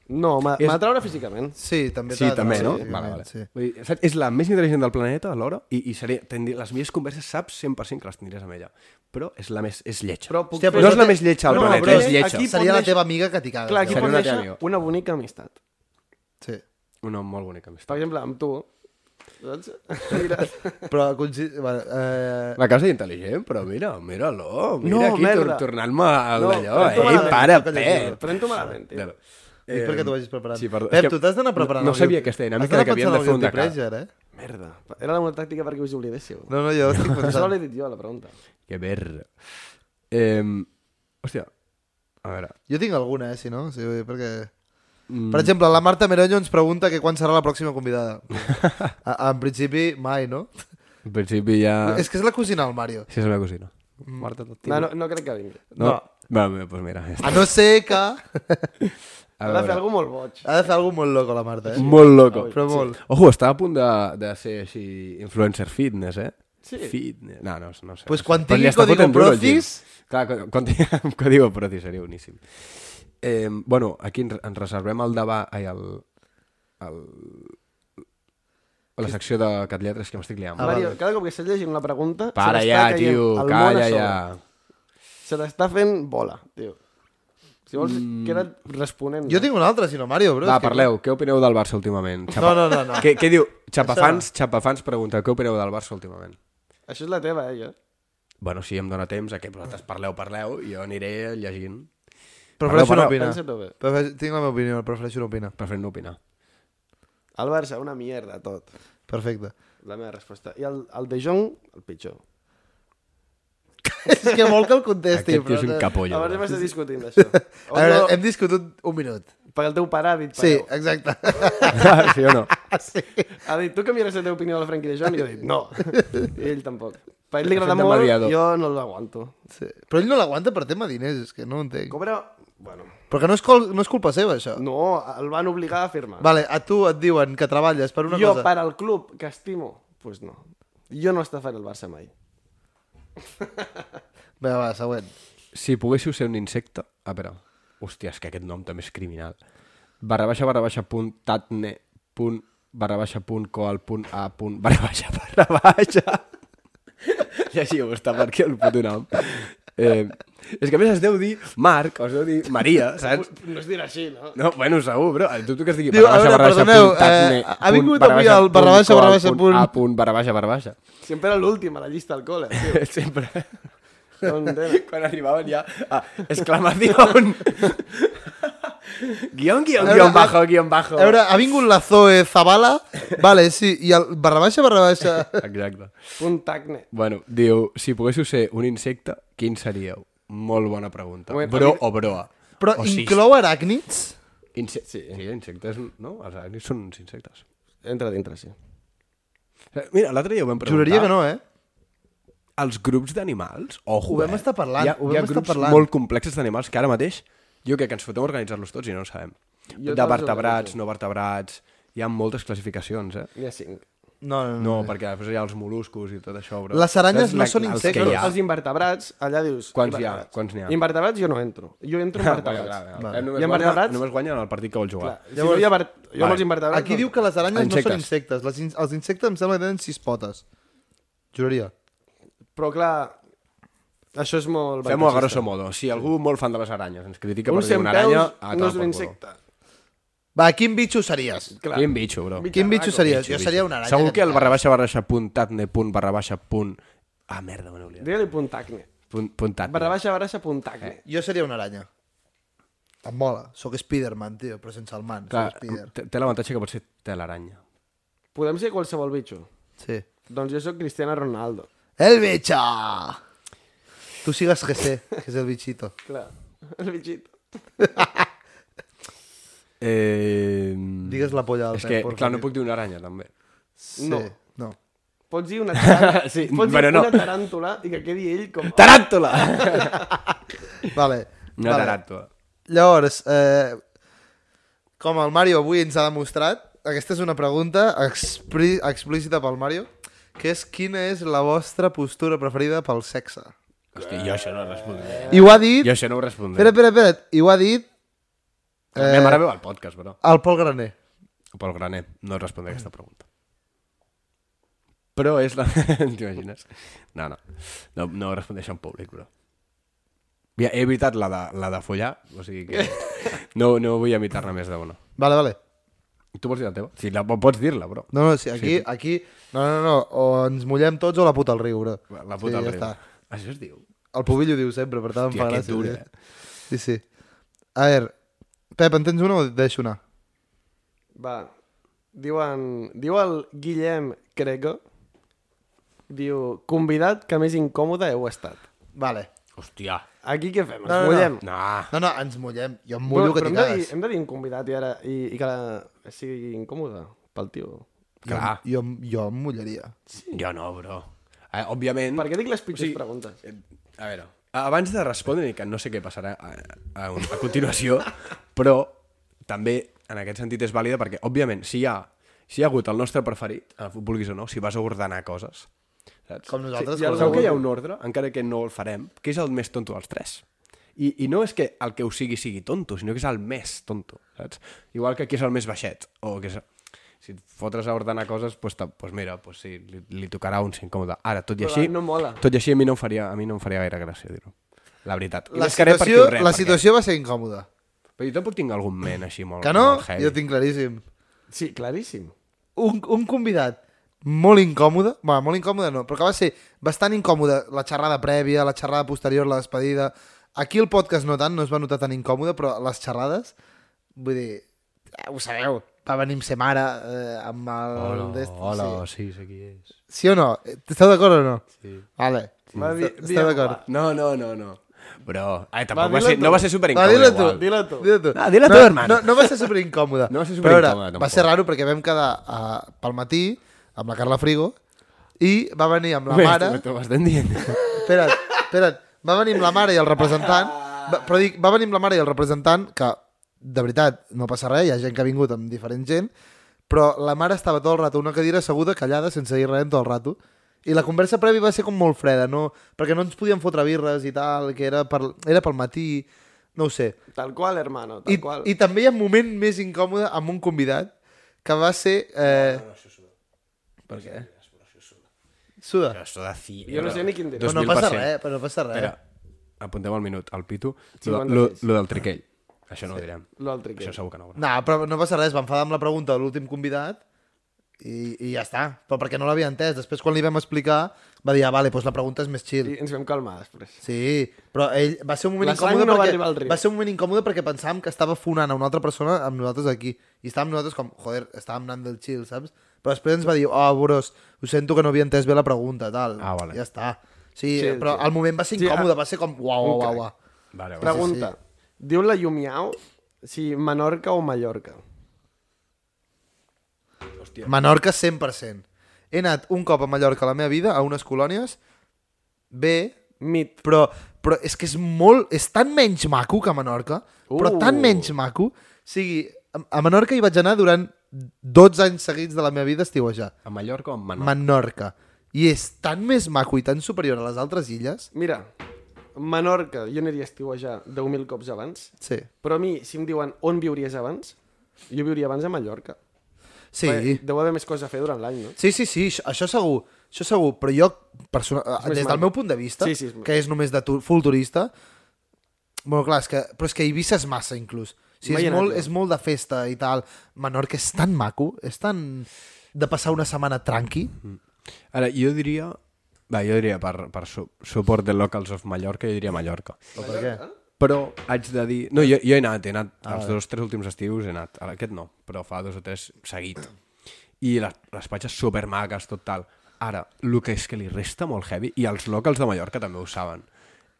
No, m'ha
És-
és... m'atraure físicament.
Sí, també
Sí,
t'ha-
també,
sí,
no?
sí,
Vale, vale.
sí.
Vull dir, saps, és la més intel·ligent del planeta, alhora, i, i seria, tindria, les millors converses saps 100% que les tindries amb ella. Però és la més... És lletja.
Però puc
Hòstia,
fer...
però
no és la més lletja del
No,
planeta,
però
és lletja.
aquí-
Seria
pot
la
néixer-
teva amiga que t'hi caga.
Clar, aquí
Seria
pot
una
néixer
tècnica.
una bonica amistat.
Sí.
Un home molt bonic, a més.
Per exemple, amb tu, saps? Mira.
Però... consi- Vale, eh...
La casa intel·ligent, però mira, mira-lo. Mira
No,
aquí, tor
merda.
tornant-me a
No, però
d'allò.
em tu
Ei,
malament,
para,
tu que
Pep.
Pren-t'ho malament, tio.
Claro.
Eh,
Eh,
és perquè t'ho vagis preparant.
Sí, perdó.
Pep,
És que
tu t'has d'anar preparant.
No, no
el
sabia
guió.
aquesta
Has
dinàmica
d'anar
de que havíem
pensant
de
en el
fer un de
guilty
cada.
pleasure, eh?
Merda. Era una tàctica perquè us oblidéssiu.
No, no, jo estic
Això
pensant.
l'he dit jo, la pregunta.
Que ver. Eh, hòstia, a veure...
Jo tinc alguna, eh, si no. Sí, perquè...
Mm,
Per exemple, la Marta Meronyo ens pregunta que quan serà la pròxima convidada. A, en principi, mai, no?
en principi ja...
És que és la cosina del Mario.
Sí, és la meva cosina. Marta, tot
Mm. No, no, no crec que vingui.
No. no. Bueno, doncs pues mira, ja està.
A no ser que... ha
A
Ha de fer
veure,
alguna molt boig.
de fer alguna molt loco, la Marta, eh?
molt loco.
Però molt.
Ojo, estava a punt de, de ser així influencer fitness, eh?
Sí.
Fitness. No, no, no sé.
Pues
no sé.
quan
Però li
tingui
està
Código
fotent duro al gym.
Procis-
Clar, quan, quan tingui amb Código Procis seria boníssim. Eh, bueno, aquí ens ens reservem el debat... Ai, el, el, la secció de cat lletres que m'estic liant.
A
Ah,
veure, cada cop que estàs llegint una pregunta... se
Para
t'està
ja,
caient
tio,
el món a
calla
sobre.
ja.
Se t'està fent bola, tio. Si vols, mm. queda't responent.
Jo tinc un altre, si no, Mario, bro.
Va,
és que-
parleu, què opineu del Barça últimament? Xapa...
No, no, no, no.
Què, què diu? Xapafans, xapafans pregunta, què opineu del Barça últimament?
Això és la teva, eh, jo.
Bueno, si em dóna temps a que vosaltres parleu, parleu, i jo aniré llegint.
Prefereixo no
Parleu,
opinar.
Pensa-t'ho bé.
Prefereixo- Tinc la meva opinió, prefereixo no opinar.
Preferent no opinar.
El Barça, una mierda, tot.
Perfecte.
La meva resposta. I el, el De Jong, el pitjor.
és que vol que el contesti,
Aquest tio és un capollo. eh?
Abans hem
bro.
estat discutint d'això.
A veure, hem discutit un minut.
Per el teu pare ha dit,
Sí,
pareu.
exacte.
sí o no?
sí.
Ha dit, tu canviaràs la teva opinió de la Frenkie de Jong? I jo he dit, no. I ell tampoc. Per ell li agrada
Fet de
molt,
mediador.
jo no l'aguanto.
Sí. Però ell no l'aguanta per tema diners, és que no ho entenc.
Cobra... Bueno,
Perquè no és, col no és culpa seva, això.
no, el van obligar a firmar.
Vale, a tu et diuen que treballes per una
jo
cosa...
per al club que estimo, doncs pues no. Jo no estafaré el Barça mai.
Bé, va, següent.
Si poguéssiu ser un insecte... Ah, però... Hòstia, és que aquest nom també és criminal. Barra baixa, barra baixa, punt, tatne, punt, barra baixa, punt, coal, punt, a, punt, barra baixa, barra baixa. Llegiu, està per aquí el puto nom. Eh, és que a més es deu dir Marc, o es deu dir Maria, saps?
No es dirà així, no?
No, bueno, segur, bro. Tu tu que es digui
Diu, a veure,
barra baixa, barra baixa,
perdoneu,
punt, tatne,
eh, ha
punt,
vingut
barra
avui
baixa,
el barra
punt,
baixa, barra
coal,
baixa,
punt,
punt.
A, punt, barra baixa, barra baixa.
Sempre era l'últim a la llista al col·le. tio.
Sempre.
No ho entenc.
Quan arribaven ja a exclamación. guión, guión,
A veure,
guión bajo, guión bajo.
A veure, ha vingut la Zoe Zabala? Vale, sí, i el barra baixa, barra baixa...
Exacte.
Un tacne.
Bueno, diu, si poguéssiu ser un insecte, quin seríeu? Molt bona pregunta.
Bueno,
Bro
a mi-
o broa?
Però
o cis.
inclou aràcnids?
Inse sí. sí, insectes, no? Els aràcnids són uns insectes.
Entra dintre, sí.
Eh, Mira, l'altre dia ho vam preguntar.
Juraria que no, eh?
Els grups d'animals, ojo,
Ho vam
eh?
estar parlant,
Hi ha,
ho vam
hi ha
estar
grups
parlant.
molt complexes d'animals que ara mateix jo crec que ens fotem a organitzar-los tots i no ho sabem.
Jo
de
te'ls
vertebrats,
organitzo.
no vertebrats... Hi ha moltes classificacions, eh?
N'hi ha cinc.
No, no, no.
No, perquè després hi ha els moluscos i tot això, bro.
Les aranyes
Saps
no
la-
són
els
insectes.
que hi
Ja.
ha?
Els invertebrats, allà dius...
Quants hi ha?
invertebrats.
Quants n'hi ha? Ah,
Invertebrats jo no entro. Jo entro en
Vale,
vertebrats.
vale,
Vale.
vale. Només,
I en
guanya,
vertebrats?
només guanya en el partit que vol jugar.
Clar, si no hi ha vert... Jo amb els invertebrats...
Aquí
no.
diu que les aranyes no són
Insectes.
insectes. Les in els insectes em sembla que tenen sis potes. Juraria.
Però clar, això és molt...
Fem-ho a
ventajista.
grosso modo. Si algú molt fan de les aranyes ens critica
Un
per dir
cent
una
peus
aranya... a
no
tomar
és
per
un
culo.
insecte.
Va, quin bitxo series?
Clar.
Quin bitxo, bro.
Bitxo,
Quin bitxo series? Jo
Bitxo.
seria una aranya.
Segur que el
encara.
barra baixa barra baixa punt tatne punt barra baixa punt... Ah, merda, me n'he oblidat.
Digue-li punt tacne.
Punt, punt tatne.
Barra baixa, barra baixa, punt
Eh.
tacne.
Jo seria una aranya. Em mola. Sóc Spiderman, tio, però sense el man. Clar.
Clar,
Sóc Spider.
té té l'avantatge que pot ser telaranya.
Podem ser qualsevol bitxo.
Sí.
Doncs jo sóc Cristiano Ronaldo.
El bitxo! Tu sigues GC, que és el bitxito.
Clar, el bitxito.
Eh...
Digues la polla del
És que,
Temple,
clar, no
perquè-
puc dir una aranya, també.
Sí.
No.
No.
Pots dir una taràntula,
Sí,
pots dir
però no.
una taràntula i que quedi ell com...
Taràntula!
Vale.
Una
vale.
taràntula.
Llavors, eh, com el Mario avui ens ha demostrat, aquesta és una pregunta explí explícita pel Mario, que és quina és la vostra postura preferida pel sexe?
Hòstia, jo això no ho respondré.
I ho ha dit...
Jo eh. això no ho respondré.
Espera, espera, espera. I ho ha dit
La meva mare veu el podcast, però.
el Pol Graner.
Pel graner, no et respondré aquesta pregunta. Però és la... T'imagines? No, no. No, no ho respondré això en públic, però. Ja, he evitat la de, la de follar, o sigui que no, no vull evitar-ne més d'una.
Vale, vale.
Tu vols dir la teva? Sí, la, pots dir-la, però.
No, no, sí, aquí, sí. aquí... No, no, no. O ens mullem tots o la puta al riu, bro.
La
sí,
puta sí,
ja està.
Això es diu?
El Pubill ho diu sempre, per tant em
Hòstia,
fa
que
gràcia.
dur,
tio.
eh?
Sí, sí. A veure, Pep, en tens una o et deixo anar?
Va, diuen... Diu el Guillem Crego, diu, convidat que més incòmode heu estat.
Vale.
Hòstia.
Aquí què fem? Ens
No, no, no.
mullem?
Nah.
No, no, ens mullem. Jo em mullo
Però-
que
però
t'hi
hem de,
cagues.
dir, hem de dir un convidat i, ara, i, i que la, sigui incòmode pel tio.
Clar.
Jo, em- jo em mullaria.
Jo no, bro. Eh, òbviament...
Per què dic les pitjors
O sigui,
preguntes?
Eh, A veure, abans de respondre, que no sé què passarà a, a, a continuació, però també en aquest sentit és vàlida perquè, òbviament, si hi ha, si hi ha hagut el nostre preferit, eh, vulguis o no, si vas a ordenar coses, saps?
Com nosaltres,
Sí, hi ha,
com
sabeu que hi ha
algú.
un ordre, encara que no el farem, que és el més tonto dels tres. I, I no és que el que ho sigui sigui tonto, sinó que és el més tonto, saps? Igual que qui és el més baixet, o que és... si et fotres a ordenar coses, doncs, pues, pues mira, pues sí, li, li tocarà un ser incòmode. Ara, tot i
Però
així,
no mola.
tot i així a mi no em faria, a mi no em faria gaire gràcia dir-ho. La veritat. I
La
més que res
situació,
perquè ho rep,
la
perquè-
situació va ser incòmoda.
Però jo tampoc tinc algun men així molt,
Que no?
molt Oh, heavy.
Jo tinc claríssim.
Sí, claríssim.
Un, un convidat molt incòmode, va, molt incòmode no, però que va ser bastant incòmode la xerrada prèvia, la xerrada posterior, la despedida. Aquí el podcast no tant, no es va notar tan incòmode, però les xerrades, vull dir, eh, ho sabeu, va venir amb ser mare, eh, amb el...
Hola,
dest-
hola, sí, sí, qui és.
Sí. sí o no? Esteu d'acord o no?
Sí.
Vale.
Va dir-
Esteu
digue'm,
d'acord?
va.
No, no, no, no. Bro, ai, tampoc va,
dila
ser,
tu.
no va ser super
Va,
incòmode.
dila tu,
dila tu.
Dila tu.
Ah, dila
no,
tu, hermano.
No, no va ser superincòmode.
No va ser
Però a veure,
superincòmode,
Va ser raro perquè vam quedar uh, pel matí amb la Carla Frigo i va venir amb la mare...
T'ho estem dient.
Espera't, espera't. Va venir amb la mare i el representant... Va, però dic, va venir amb la mare i el representant, que, de veritat, no passa res, hi ha gent que ha vingut amb diferent gent, però la mare estava tot el rato a una cadira asseguda, callada, sense dir res tot el rato. I la conversa prèvia va ser com molt freda, no, perquè no ens podíem fotre birres i tal, que era, per, era pel matí, no ho sé.
Tal qual, hermano, tal
I,
qual.
I també hi ha un moment més incòmode amb un convidat que va ser... Eh... Per què? Suda.
Això de eh, fi...
Jo no sé ni quin dir.
Però no passa res, però no passa res.
Espera, apuntem el minut, al pitu. Lo,
56.
lo, lo del triquell. Això no ho direm.
Lo del triquell.
Això segur que no. ho
No, però no passa res, va enfadar amb la pregunta de l'últim convidat i, i ja està, però perquè no l'havia entès. Després, quan li vam explicar, va dir, ah, vale, doncs la pregunta és més chill.
I ens vam calmar després.
Sí, però ell va ser un moment
La sang
incòmode
no va
perquè,
arribar al riu.
va ser un moment incòmode perquè pensàvem que estava fonant a una altra persona amb nosaltres aquí. I estàvem nosaltres com, joder, estàvem anant del chill, saps? Però després ens va dir, oh, Boros, ho sento que no havia entès bé la pregunta, tal.
Ah, vale.
Ja està. Sí, eh,
Chill,
però
chill.
al moment va ser
Sí,
incòmode,
ah,
va ser com, uau, uau, uau, uau.
Vale, vale.
Pregunta. Diu la Llumiau si Menorca o Mallorca.
Menorca 100%. He anat un cop a Mallorca a la meva vida, a unes colònies, bé,
Mit.
però, però és que és molt... És tan menys maco que a Menorca, uh. però
Uh.
tan menys maco. O sigui, a, a Menorca hi vaig anar durant 12 anys seguits de la meva vida a estiuejar.
A Mallorca o en Menorca?
Menorca. I és tan més maco i tan superior a les altres illes.
Mira, Menorca, jo aniria a estiuejar 10.000 cops abans,
Sí.
però a mi, si em diuen on viuries abans, jo viuria abans a Mallorca.
Sí.
Perquè Deu haver més coses a fer durant l'any, no?
Sí, sí, sí, això, això segur, això segur, però jo, persona, eh,
És més
des del
maco.
meu punt de vista,
Sí, sí, és maco.
que és només de tu, full turista, bueno, clar, és que, però és que Eivissa és massa, inclús. O sigui,
Mai he
és,
anat
molt,
jo.
és molt de festa i tal. Menorca és tan maco, és tan de passar una setmana tranqui.
Mm. Ara, jo diria... Va, jo diria per, per su suport de Locals of Mallorca, jo diria Mallorca.
O per què?
Però haig de dir... No, jo, jo he anat, he anat
Ah,
els dos, tres últims estius he anat. Ara, aquest no, però fa dos o tres seguit. I les, les platges supermaques, tot tal. Ara, el que és que li resta molt heavy, i els locals de Mallorca també ho saben,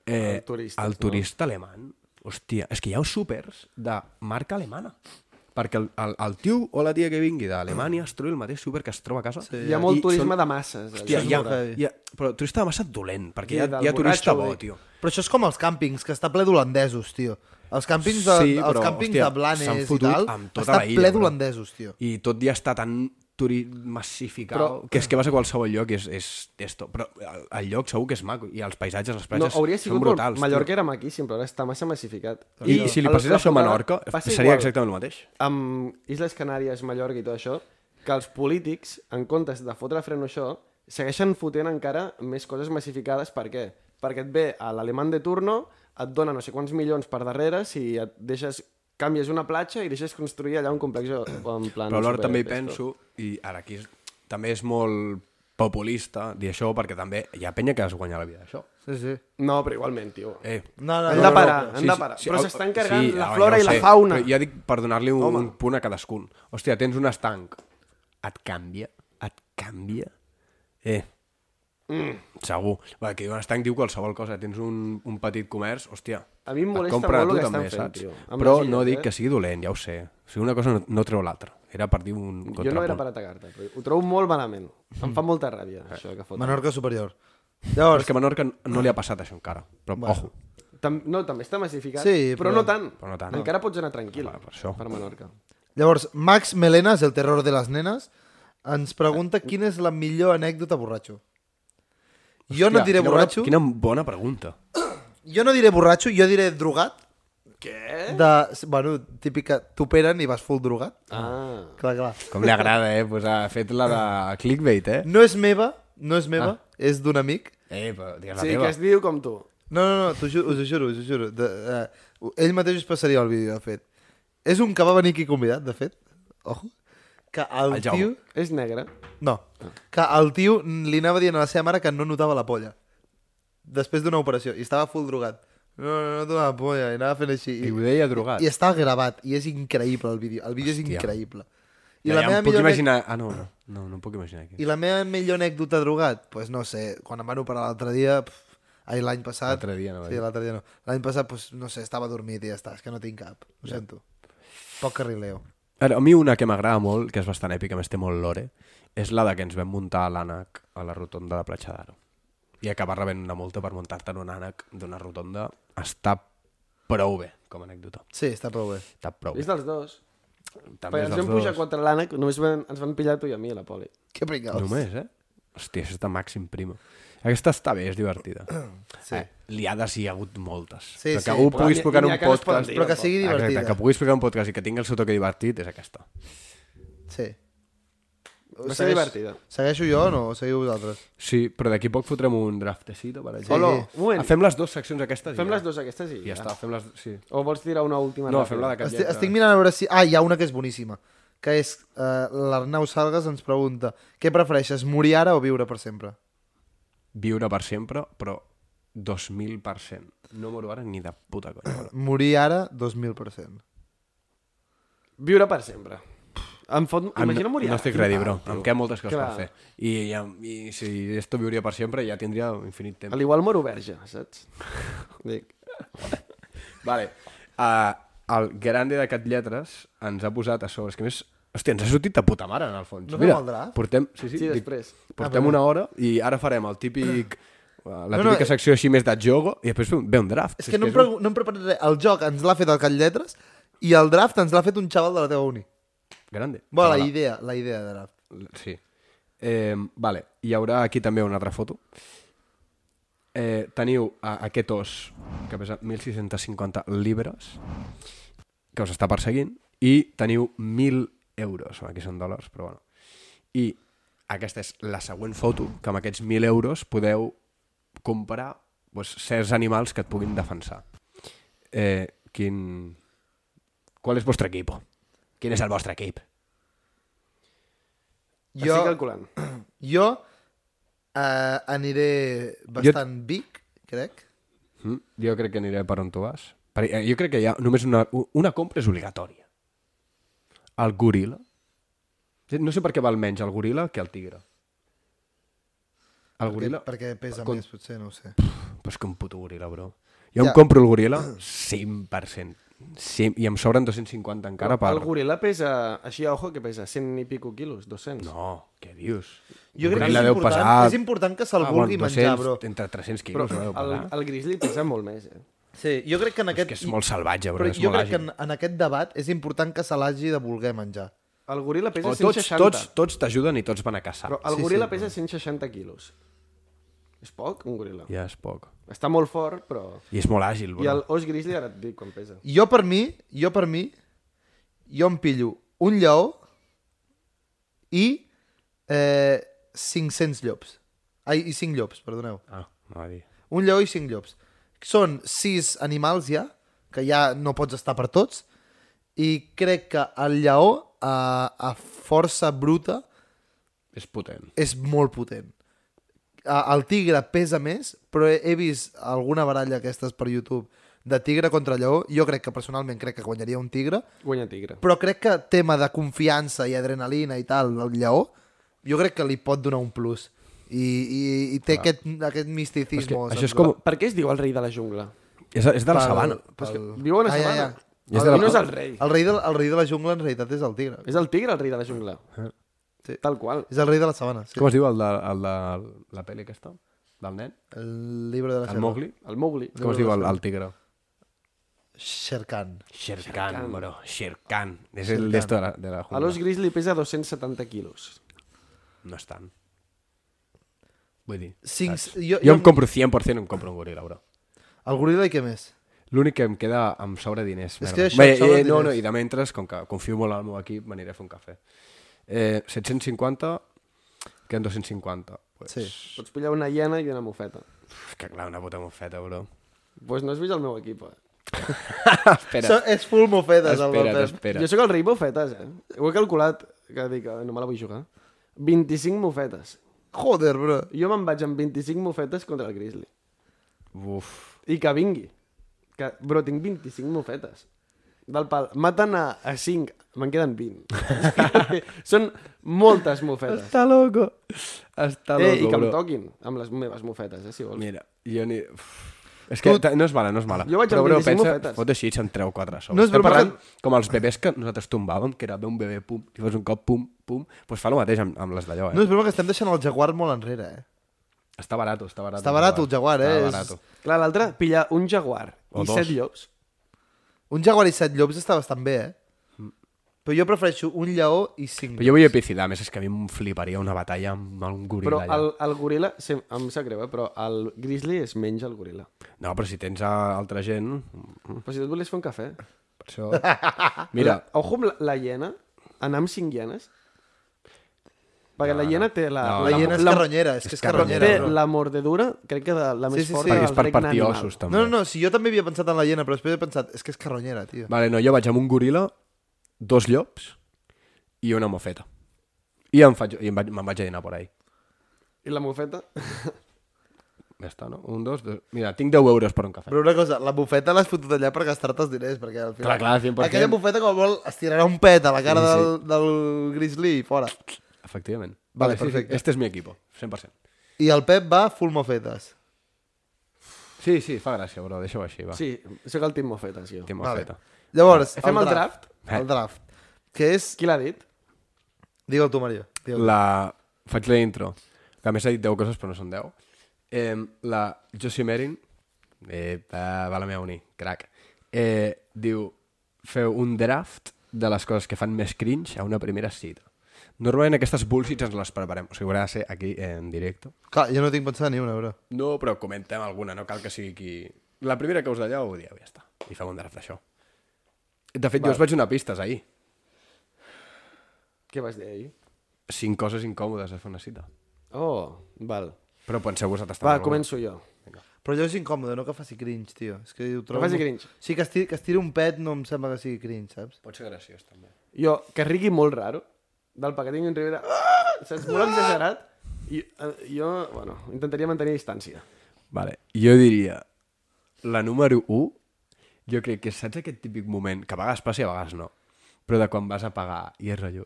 eh,
El turista,
el
no?
turista alemany, hòstia, és que hi ha supers de marca alemana. Perquè el, el, el tio o la tia que vingui d'Alemanya es troba el mateix súper que es troba a casa. Sí,
Hi ha molt turisme de masses.
Hòstia,
allà.
hi ha,
molt heavy.
hi ha, però turista de massa dolent, perquè
Sí,
hi ha,
del
hi ha turista bo,
borratxo,
tio.
Però això és com els càmpings, que està ple d'holandesos, tio. Els càmpings de,
Sí,
els
però,
càmpings
hòstia,
de Blanes
s'han
i
fotut
tal,
amb tota
està
la illa,
ple
bro.
d'holandesos, tio.
I tot ja està tan turi- massificat
Però-
que és que vas a qualsevol lloc i és, és, és tot. Però el, el lloc segur que és maco i els paisatges, les
No,
platges
hauria
són
sigut
brutals.
brutals, Mallorca era maquíssim, però ara està massa massificat.
tio. I, I si li
a
passés
la
això a
temporada
Menorca,
passa
seria
igual.
exactament el mateix.
amb Isles Canàries, Mallorca i tot això, que els polítics, en comptes de fotre freno a això, segueixen fotent encara més coses massificades. Per què? Perquè et ve a l'alemany de turno, et dona no sé quants milions per darrere si et deixes canvies una platja i deixes construir allà un complex o- o en plan...
Però alhora
super
també hi
pesto.
penso, i ara aquí és, també és molt populista dir això, perquè també hi ha penya que es guanya la vida d'això.
Sí, sí.
No, però igualment, tio. Eh.
Eh,
No, no,
Hem
no,
de
no,
parar,
no.
hem de parar. Però
au-
s'està encarregant la
home,
flora
ho
i la
sé,
fauna.
Però ja dic per donar-li un, un punt a cadascun. Hòstia, tens un estanc. Et canvia? Et canvia? Eh. Mm. Segur. Va, que un estanc diu qualsevol cosa. Tens un, un petit comerç, hòstia.
A mi em
et
molesta
compra
molt
tu
el que
també,
estan fent,
saps?
tio, amb
Però
les
no
illes,
dic
eh?
que sigui dolent, ja ho sé. O sigui, una cosa no, no treu l'altra. Era per dir un
Jo no era
contrapunt.
per atacar-te, però ho trobo molt malament. Em fa molta ràbia,
Eh.
això que foten.
Menorca superior.
Però
Llavors,
és que a Menorca no, no li ha passat això encara. Però, bueno. ojo,
Tam no, també està massificat,
Sí,
però,
però-
però, no tant.
però no tant.
Encara pots anar tranquil
Home, per això.
per Menorca.
Llavors, Max Melenas, el terror de les nenes, ens pregunta
Eh,
quina és la millor anècdota borratxo. Jo no
Hòstia,
et diré
quina
borratxo,
Bona, quina bona pregunta.
jo no diré borratxo, jo diré drogat,
Què?
de... Bueno, típica, t'operen i vas full drogat.
Ah.
Clar, clar.
Com li agrada, eh? Pues ha fet la de clickbait, eh?
No és meva, no és meva, ah. és d'un amic.
Eh, però digues la
Sí, que
teva.
es diu com tu.
No, no, no, t'ho ju us ho juro, us ho juro. De, uh, ell mateix us passaria el vídeo, de fet. És un que va venir aquí convidat, de fet. Ojo. Que el,
El Jaume.
tio...
És negre.
No. Que el tio li anava dient a la seva mare que no notava la polla. Després d'una operació. I estava full drogat. No, no, no donava polla. I anava fent així.
I ho
I,
deia drogat.
i està gravat. I és increïble, el vídeo. El vídeo és
Hòstia.
increïble.
I ja, la ja meva em puc imaginar... Ah, no, no. No, no em puc imaginar. Aquí.
I la meva millor anècdota drogat? Doncs pues no sé, quan em van operar l'altre dia... Pf, ai, l'any passat...
L'altre dia, no va
Sí,
dir.
l'altre dia no. L'any passat, pues, no sé, estava dormit i ja està. És que no tinc cap, ho ja. sento. Poc carrileo.
Ara, a mi una que m'agrada molt, que és bastant èpica, a més té molt lore, és la de que ens vam muntar a l'ànec a la rotonda de Platja d'Aro. I acabar rebent una multa per muntar-te en un ànec d'una rotonda està prou bé, com a anècdota.
Sí, està prou bé.
Està prou bé.
És dels dos. Perquè
També és
ens
dels
vam pujar
dos.
contra l'ànec, només van, ens van pillar tu i a mi a la poli.
Que pringaos.
Només, eh? Hòstia, això està màxim prima. Aquesta està bé, és divertida. Sí. Eh, liades hi ha hagut moltes.
Sí,
però
sí,
que algú
però
pugui
ni-
explicar en
ni
un
encara es poden
podcast...
dir,
Però que sigui divertida.
Exacte, que pugui explicar en un podcast i que tingui el seu toque divertit és aquesta.
Sí.
Va ser
Segueix-
divertida.
Segueixo jo o no? O seguiu vosaltres?
Sí, però d'aquí a poc fotrem un draftecito, per exemple.
Hola,
sí.
un moment.
Fem les dues seccions aquestes. i
Fem
ja.
les dues aquestes i
I ja està, fem les... Sí.
O vols tirar una última
No,
ràpida?
fem la de cap
Estic,
lletra.
estic mirant a veure si... Ah, hi ha una que és boníssima. Que és... Eh, L'Arnau Salgas ens pregunta què prefereixes, morir ara o viure per sempre?
Viure per sempre, però 2.000%. No moro ara ni de puta conya.
Morir ara, 2.000%.
Viure per sempre. Em fot... Imagina morir. ara.
No
Ah,
estic ready, bro. Em queden moltes coses
Clar.
per fer. I, ja, I si esto viuria per sempre, ja tindria infinit temps.
A l'igual moro verge, saps? Dic.
Vale. Uh, el grande de Cat Lletres ens ha posat a sobre. És que a més... Hòstia, ens ha sortit de puta mare, en el fons.
No
Mira,
fem el draft?
portem... Sí, sí,
Sí,
dic,
després.
Portem una hora i ara farem el típic... uh, La
Ah, No, no,
típica
eh.
secció així més de jogo i després ve un draft.
És que no em,
un-
pregu- no em prepararé res. El joc ens l'ha fet el Call Lletres i el draft ens l'ha fet un xaval de la teva uni.
Grande.
Bé, la
Xavala.
idea, la idea de draft.
Sí. Eh, vale, hi haurà aquí també una altra foto. Eh, teniu a, aquest os que pesa 1.650 libres que us està perseguint i teniu 1.000 euros. Bueno, Aquí són dòlars, però bueno. I aquesta és la següent foto que amb aquests 1.000 euros podeu comprar doncs, certs animals que et puguin defensar. Eh, quin... Qual és el vostre equip? Quin és el vostre equip?
Jo... Estic calculant.
jo eh, aniré bastant jo... big, crec.
Mm, jo crec que aniré per on tu vas. Per, eh, jo crec que hi ha només una, u- una compra és obligatòria. El goril·la. No sé per què val menys el goril·la que el tigre. El goril·la...
Perquè, perquè pesa
Com-
més, potser, no ho sé.
Però és que un puto goril·la, bro. Jo ja.
Ja.
em compro el goril·la 100%. Sí, I em sobren 250 encara per...
El goril·la pesa, així a ojo, que pesa 100 i pico quilos, 200.
No, què dius?
Jo
Un
crec que
goril·la
és
deu
important,
pesar-
és important que
Ah,
se'l vulgui menjar, bro.
Entre 300
Però
quilos. Però,
el, el grizzly pesa molt més, eh?
Sí, jo crec que en
és
aquest...
que és molt salvatge, bro.
però
és
jo
molt
crec que
àgil.
en, en aquest debat és important que se l'hagi de voler menjar.
El goril·la pesa
O
160.
tots, tots, Ah, tots t'ajuden i tots van a caçar.
Però el
Sí, sí,
goril·la pesa 160 quilos. És poc, un goril·la.
Ja és poc.
Està molt fort, però...
I és molt àgil, bro.
I el os grizzly, ara et dic quan pesa.
Jo per mi, jo per mi, jo em pillo un lleó i eh, 500 llops. Ai, i 5 llops, perdoneu.
Ah, no va dir.
Un lleó i 5 llops. Són 6 animals ja, que ja no pots estar per tots, i crec que el lleó a, a força bruta
És potent.
és molt potent. A- El tigre pesa més, però he, he vist alguna baralla aquestes per YouTube de tigre contra lleó. Jo crec que personalment crec que guanyaria un tigre,
Guanya tigre.
però crec que tema de confiança i adrenalina i tal, el lleó, jo crec que li pot donar un plus. I, i, i té aquest, aquest misticisme.
És que,
saps?
això és com...
Per què es diu el rei de la jungla?
És, és de la sabana.
Però és que
Pel-
viu a la
Ah, ja,
sabana.
ja.
I és
El
de la-
no és el rei.
El rei, de, el rei de la jungla en realitat és el tigre.
És el tigre el rei de la jungla.
Eh.
Sí.
Tal qual.
És el rei de la sabana. Sí.
Com es diu el de, el de la pel·li aquesta? Del nen?
El llibre de la
El
selva.
Mowgli?
El Mowgli.
Com es diu el, el tigre?
Shere Khan.
Shere Khan, bro. Shere Khan. És el d'esto de la, de la
A
jungla.
l'os grizzly pesa 270 quilos.
No és tant. Vull dir...
Cinc,
saps?
jo,
Jo em compro 100%, em compro un goril·la, bro.
El goril·la i què més?
L'únic que em queda amb sobre diners.
És
merda.
que això,
Bé,
sobre
eh, no, no,
diners.
i de mentre, com que confio molt en el meu equip, m'aniré a fer un cafè. Eh, 750, queden 250. Pues,
Sí.
Pots pillar una hiena i una mofeta.
És que clar, una puta mofeta, bro.
Doncs pues no has vist el meu equip, eh?
Espera,
So, és full mofetes, el
espera't,
López.
espera't.
Jo sóc el rei bofetes, eh? Ho he calculat, que dic, eh, no me la vull jugar. 25 mofetes.
Joder, bro.
Jo me'n vaig amb 25 mofetes contra el Grizzly.
Uf.
I que vingui. Que, bro, tinc 25 mofetes. Del pal. Maten a, a 5, me'n queden 20. Són moltes mofetes.
Està loco. Està loco,
Eh, I que em
bro.
toquin amb les meves mofetes, eh, si vols.
Mira, jo ni... Uf. És que ta- no és mala, no és mala.
Jo vaig amb
bro,
25
pensa,
mofetes.
Fot així, se'n treu quatre sols.
No
No
és
Estem
broma
parlant com els bebès que nosaltres tombàvem, que era ve un bebè, pum, i fas un cop, pum, pum, doncs pues fa el mateix amb, amb les d'allò, eh?
No, és broma que estem deixant el Jaguar molt enrere, eh?
Està barato, està barato.
Està barato el Jaguar, eh?
Està
És-
barato.
Clar, l'altre, pillar un jaguar
O
i
dos.
set llops.
Un Jaguar i set llops està bastant bé, eh? Però jo prefereixo un lleó i cinc.
Mm. Però jo vull epicidar, a més és que a mi em fliparia una batalla amb algun goril·la
Però
allà.
el, el goril·la, sí, em sap greu, eh, però el grizzly es menja el goril·la.
No, però si tens a altra gent... mm,
Però si tu et volies fer un cafè...
Per això... Mira,
La, ojo amb la, la hiena, anar amb cinc hienes. Perquè la hiena té la...
No,
La hiena és
la,
carronyera, és que és carronyera,
té
bro.
la mordedura, crec que de, la més
sí, sí.
forta
perquè
del
és per
regne
partir
animal.
ossos, també.
No, no, no, si jo també havia pensat en la hiena, però després he pensat, és que és carronyera, tio.
Vale, no, jo vaig amb un goril·la, dos llops i una mofeta. I em, faig, i em vaig, me'n vaig a dinar por ahí.
I la mofeta?
Ja està, no? Un, dos, dos... Mira, tinc 10 euros per un cafè.
Però una cosa, la bufeta l'has fotut allà per gastar-te els diners, perquè al final...
Clar, clar, 100%.
Aquella bufeta, com a molt, estirarà un pet a la cara
Sí,
sí,
sí.
sí. del, del grizzly i fora.
Efectivament.
Vale,
sí, sí,
perfecte.
Este és mi equipo, 100%.
I el Pep va full mofetes.
Sí, sí, fa gràcia, bro, deixa-ho així, va.
Sí, sóc el Tim Mofeta, sí.
Té
Vale.
mofeta.
Llavors,
Fem el draft?
Eh.
El draft. Que és...
Qui l'ha dit?
Digue'l tu, Mario. Digue'l.
La... Faig la intro, que a més he dit 10 coses, però no són 10. Eh, la Josie Merin, eh, va va la meva uni, crac, eh, diu, feu un draft de les coses que fan més cringe a una primera cita. Normalment aquestes bullshits ens les preparem, o sigui, haurà de ser aquí eh, en directe.
Clar, jo no tinc pensat ni una, bro.
No, però comentem alguna, no cal que sigui qui... La primera que us d'allà ho dieu, ja està. I fem un draft d'això. De fet, jo us vaig donar pistes ahir.
Què vas dir ahir?
Cinc coses incòmodes de fer una cita.
Oh, val.
Però penseu vosaltres també.
Va,
alguna.
començo jo.
Però jo és incòmode, no que faci cringe, tio. És que ho trobo...
faci cringe.
Sí, que estiri, que estiri un pet no em sembla que sigui cringe, saps?
Pot ser graciós, també.
Jo, que rigui molt raro, del paquetín en Rivera, ah! saps? Molt exagerat. I eh, jo, bueno, intentaria mantenir distància.
Vale, jo diria... La número 1, jo crec que saps aquest típic moment, que a vegades passa i a vegades no, però de quan vas a pagar i és rotllo...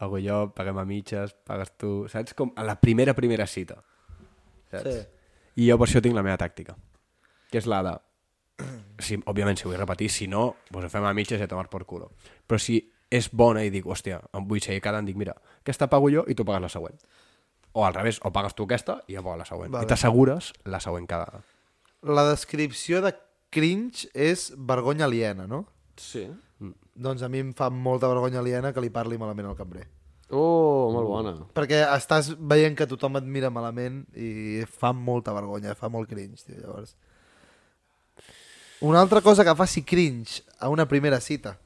Pago jo, paguem a mitges, pagues tu... Saps? Com a la primera, primera cita. Saps?
Sí.
I jo per això tinc la meva tàctica, que és la de... Si, òbviament, si vull repetir, si no, doncs ho fem a mitges i a tomar por culo. Però si és bona i dic, hòstia, em vull seguir quedant, dic, mira, aquesta pago jo i tu pagues la següent. O al revés, o pagues tu aquesta i jo pago la següent.
Vale.
Vale. I t'assegures la següent quedada.
La descripció de cringe és vergonya aliena, no?
Sí.
Doncs a mi em fa molta vergonya aliena que li parli malament al cambrer.
Oh, molt bona.
Perquè estàs veient que tothom et mira malament i fa molta vergonya, fa molt cringe, tio, llavors. Una altra cosa que faci cringe a una primera cita.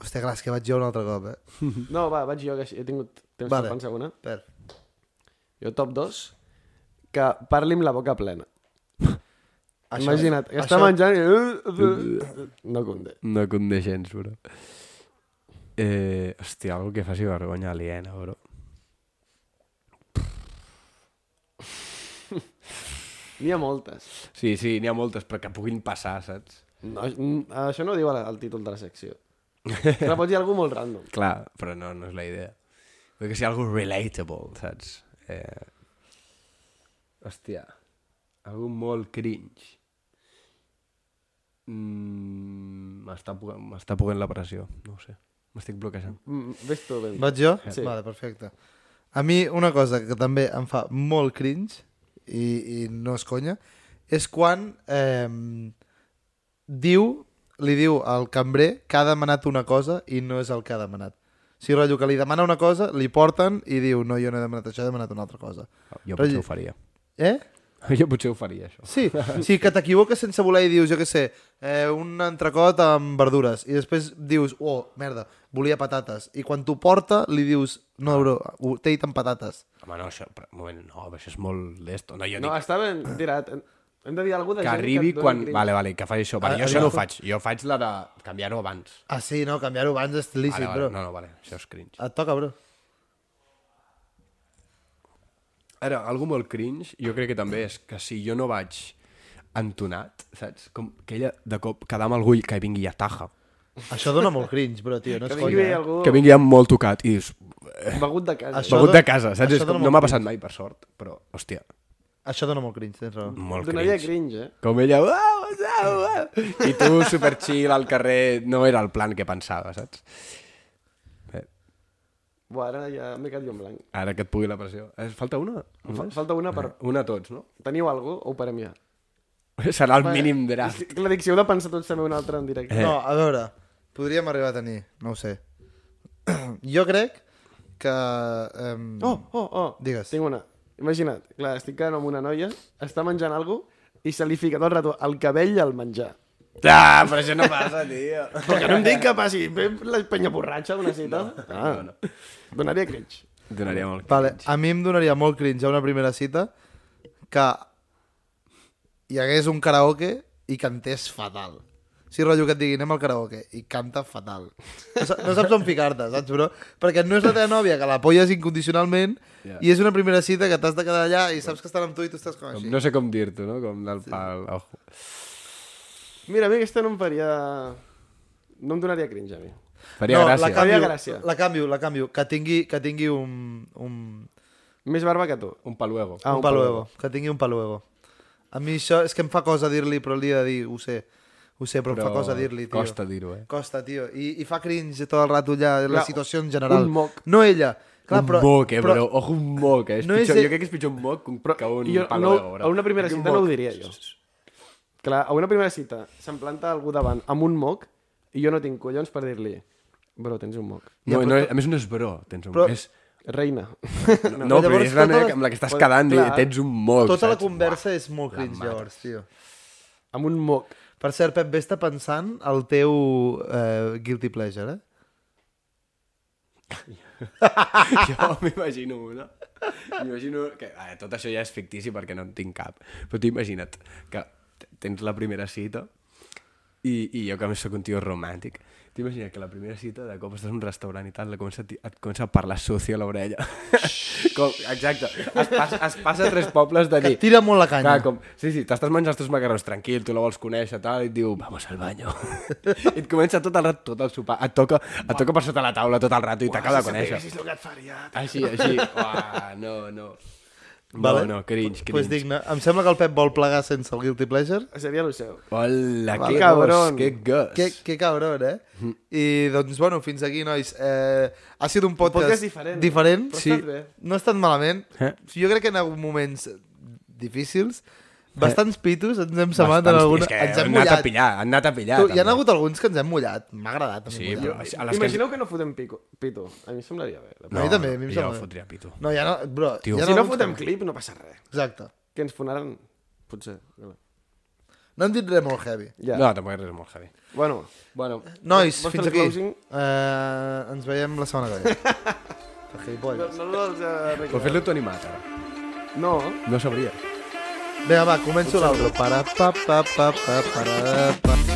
Hòstia, clar, és que vaig jo un altre cop, eh?
No, va, vaig jo, que he tingut temps vale.
Vale.
per pensar una.
Per.
Jo top 2, que parli amb la boca plena. Això, Imagina't, que està
això-
menjant i... No conté.
No conté gens, bro. Eh, hòstia, algo que faci vergonya aliena, bro.
N'hi ha moltes.
Sí, sí, n'hi ha moltes, però que puguin passar, saps?
No, mm, això no ho diu el, el títol de la secció. Però pots dir alguna molt random.
Clar, però no, no és la idea. Vull que sigui algo relatable, saps? Eh... Hòstia, algo molt cringe. Mm, M'està mm, m'està pugant la pressió, no ho sé. M'estic bloquejant.
Mm, Ves tu ben.
Vaig jo?
Sí.
Vale, perfecte. A mi una cosa que també em fa molt cringe, i, i no és conya, és quan eh, diu, li diu al cambrer que ha demanat una cosa i no és el que ha demanat. O sigui, rotllo, que li demana una cosa, li porten i diu, no, jo no he demanat això, he demanat una altra cosa.
Jo
Però i-
potser ho faria.
Eh?
Jo potser ho faria, això.
Sí, sí que t'equivoques sense voler i dius, jo què sé, eh, un entrecot amb verdures i després dius, oh, merda, volia patates. I quan t'ho porta, li dius, no, bro, ho- t'he dit amb patates.
Home, no, això, però, un moment, no, però això és molt d'esto. No, jo
No,
dic
està ben tirat. Hem de dir alguna cosa de
que
gent
arribi
et doni
quan...
cringe.
Vale, vale, que faci això. Vale,
Ah,
jo això no
arriba-
ho faig. Jo faig la de canviar-ho abans.
Ah, sí, no, canviar-ho abans és lícit, vale,
Vale, vale,
bro.
no, no, vale, això és cringe.
Et toca, bro.
Ara, algo molt cringe, jo crec que també és que si jo no vaig entonat, saps? Com que ella de cop quedar amb algú i que vingui a taja.
Això dona molt cringe, bro, tio, no és
Que
conya.
vingui
eh?
algú
Que vingui amb molt tocat i dius...
begut de casa.
Això-
Begut de
dona-
casa, saps?
això
És
dona
com,
molt
no m'ha passat mai, per sort, però, hòstia,
eh? Això dona molt cringe, tens raó.
molt
Donaria
cringe.
cringe, eh?
Com ella... "Uau, uau, uau", I tu, super chill, al carrer, no era el plan que pensava, saps?
Buah, ara ja m'he quedat jo en blanc.
Ara que et pugui la pressió. Eh, Falta una?
Fa- Falta una per...
Una a tots, no?
Teniu alguna cosa o ho parem ja?
Serà el
Vale.
mínim
És
draft.
que, Clar, dic, si heu de pensar tots també una altra en directe.
Eh.
No, a veure, podríem arribar a tenir, no ho sé. jo crec que... Um...
Oh, oh, oh.
Digues.
Tinc una. Imagina't, clar, estic quedant amb una noia, està menjant alguna cosa i se li fica tot el rato el cabell al menjar.
Ah, però això no passa, tio.
Però que no em dic que passi ve la penya borratxa d'una cita. No, ah, no, no. Donaria cringe.
Donaria molt
Vale, a mi em donaria molt cringe a una primera cita que hi hagués un karaoke i cantés fatal. O sigui, rotllo que et diguin, anem al karaoke, i canta fatal. No, sa- no saps on ficar-te, saps, bro? Perquè no és la teva nòvia, que l'apolles incondicionalment,
Ja.
yeah. i és una primera cita que t'has de quedar allà i saps que estan amb tu i tu estàs com
Com,
així.
no sé com dir-t'ho, no? Com del pal... Ojo.
Mira, a mi aquesta no em faria... No em donaria cringe, a mi.
Faria
no,
gràcia.
La canvio,
Faria gràcia.
La canvio, la canvio. Que tingui, que tingui un, un,
Més barba que tu.
Un paluego.
Ah,
un,
un
paluego. Que tingui un paluego. A mi això és que em fa cosa dir-li, però li he de dir, ho sé. Ho sé, però, em fa cosa dir-li, tio.
Costa dir-ho, eh?
Costa, tio. I, I fa cringe tot el rato allà, la
Clar,
situació en general.
un moc.
No ella. Clar,
un
però,
moc, eh,
però,
bro. Ojo, un moc, eh? És
No
no
és
pitjor,
de-
Jo crec que és pitjor un moc que un,
Però
que un
jo, no,
paluego. bro.
a una primera
Perquè un
cita no ho
moc-
diria jo. Clar, a una primera cita se'm planta algú davant amb un moc i jo no tinc collons per dir-li bro, tens un moc.
No, no, a més no és bro, tens un
Però-
moc. És...
Reina.
No, no però
llavors
és la
tota
noia
la-
amb la que estàs
Pues,
quedant i
clar,
tens un moc,
Tota la
saps?
conversa és molt cringe, llavors, tio.
amb un moc.
Per cert, Pep, vés-te pensant el teu eh, guilty pleasure, eh?
Jo m'imagino una. M'imagino que... A, tot això ja és fictici perquè no en tinc cap. Però tu imagina't que t- tens la primera cita i, i jo que a més soc un tio romàntic. T'imagines que la primera cita de cop estàs en un restaurant i tal, la comença, a ti- et comença a parlar sucio a l'orella. com, exacte. Es, pas, es passa a tres pobles de
Que
dir...
et tira molt la canya.
Clar, com, sí, sí, t'estàs menjant els teus macarrons tranquil, tu la vols conèixer, tal, i et diu, vamos al baño. I et comença tot el rato, tot el sopar, et toca, et toca per sota la taula tot el rato i t'acaba de conèixer.
Si el que et faria.
Així, així. Uah, no, no.
Vale.
No, no, cringe, cringe.
Pues digne. Em sembla que el Pep vol plegar sense el guilty pleasure.
Seria el seu.
Hola,
Vale.
que
Cabrón.
gos, que gos.
Que, que cabron, eh? I doncs, bueno, fins aquí, nois. Eh, ha sido un podcast,
Un podcast diferent, eh?
diferent.
Però ha estat bé.
No ha estat malament.
Eh?
Jo crec que en hagut moments difícils. Bastants pitos, ens hem semat en
Bastants-
alguna...
és que
ens hem
han anat a
mullat.
pillar, han anat a pillar.
Tu, hi ha
també.
hagut alguns que ens hem mullat. M'ha agradat. a mi
Sí,
mullar.
però a les
Imagineu que... no fotem pico, pito. A mi em semblaria bé.
que...
A mi també, a mi em
jo
sembla.
fotria pito.
No, ja no... Bro,
Tio.
hi ha
Si no
alguns
fotem
que-
clip no passa res.
Exacte.
Que ens fonaran, potser.
No hem dit res molt heavy.
Ja.
No, tampoc és molt heavy.
Bueno,
Bueno,
Nois,
Vols fer
fins
el
aquí.
closing?
Eh, ens veiem la setmana que ve. Per
no,
gilipolles.
no vols
però
arreglar.
fes-lo tu animat, ara.
No,
No sabria.
Vinga, va, començo l'altre. Para, pa, pa, pa, pa, para, pa.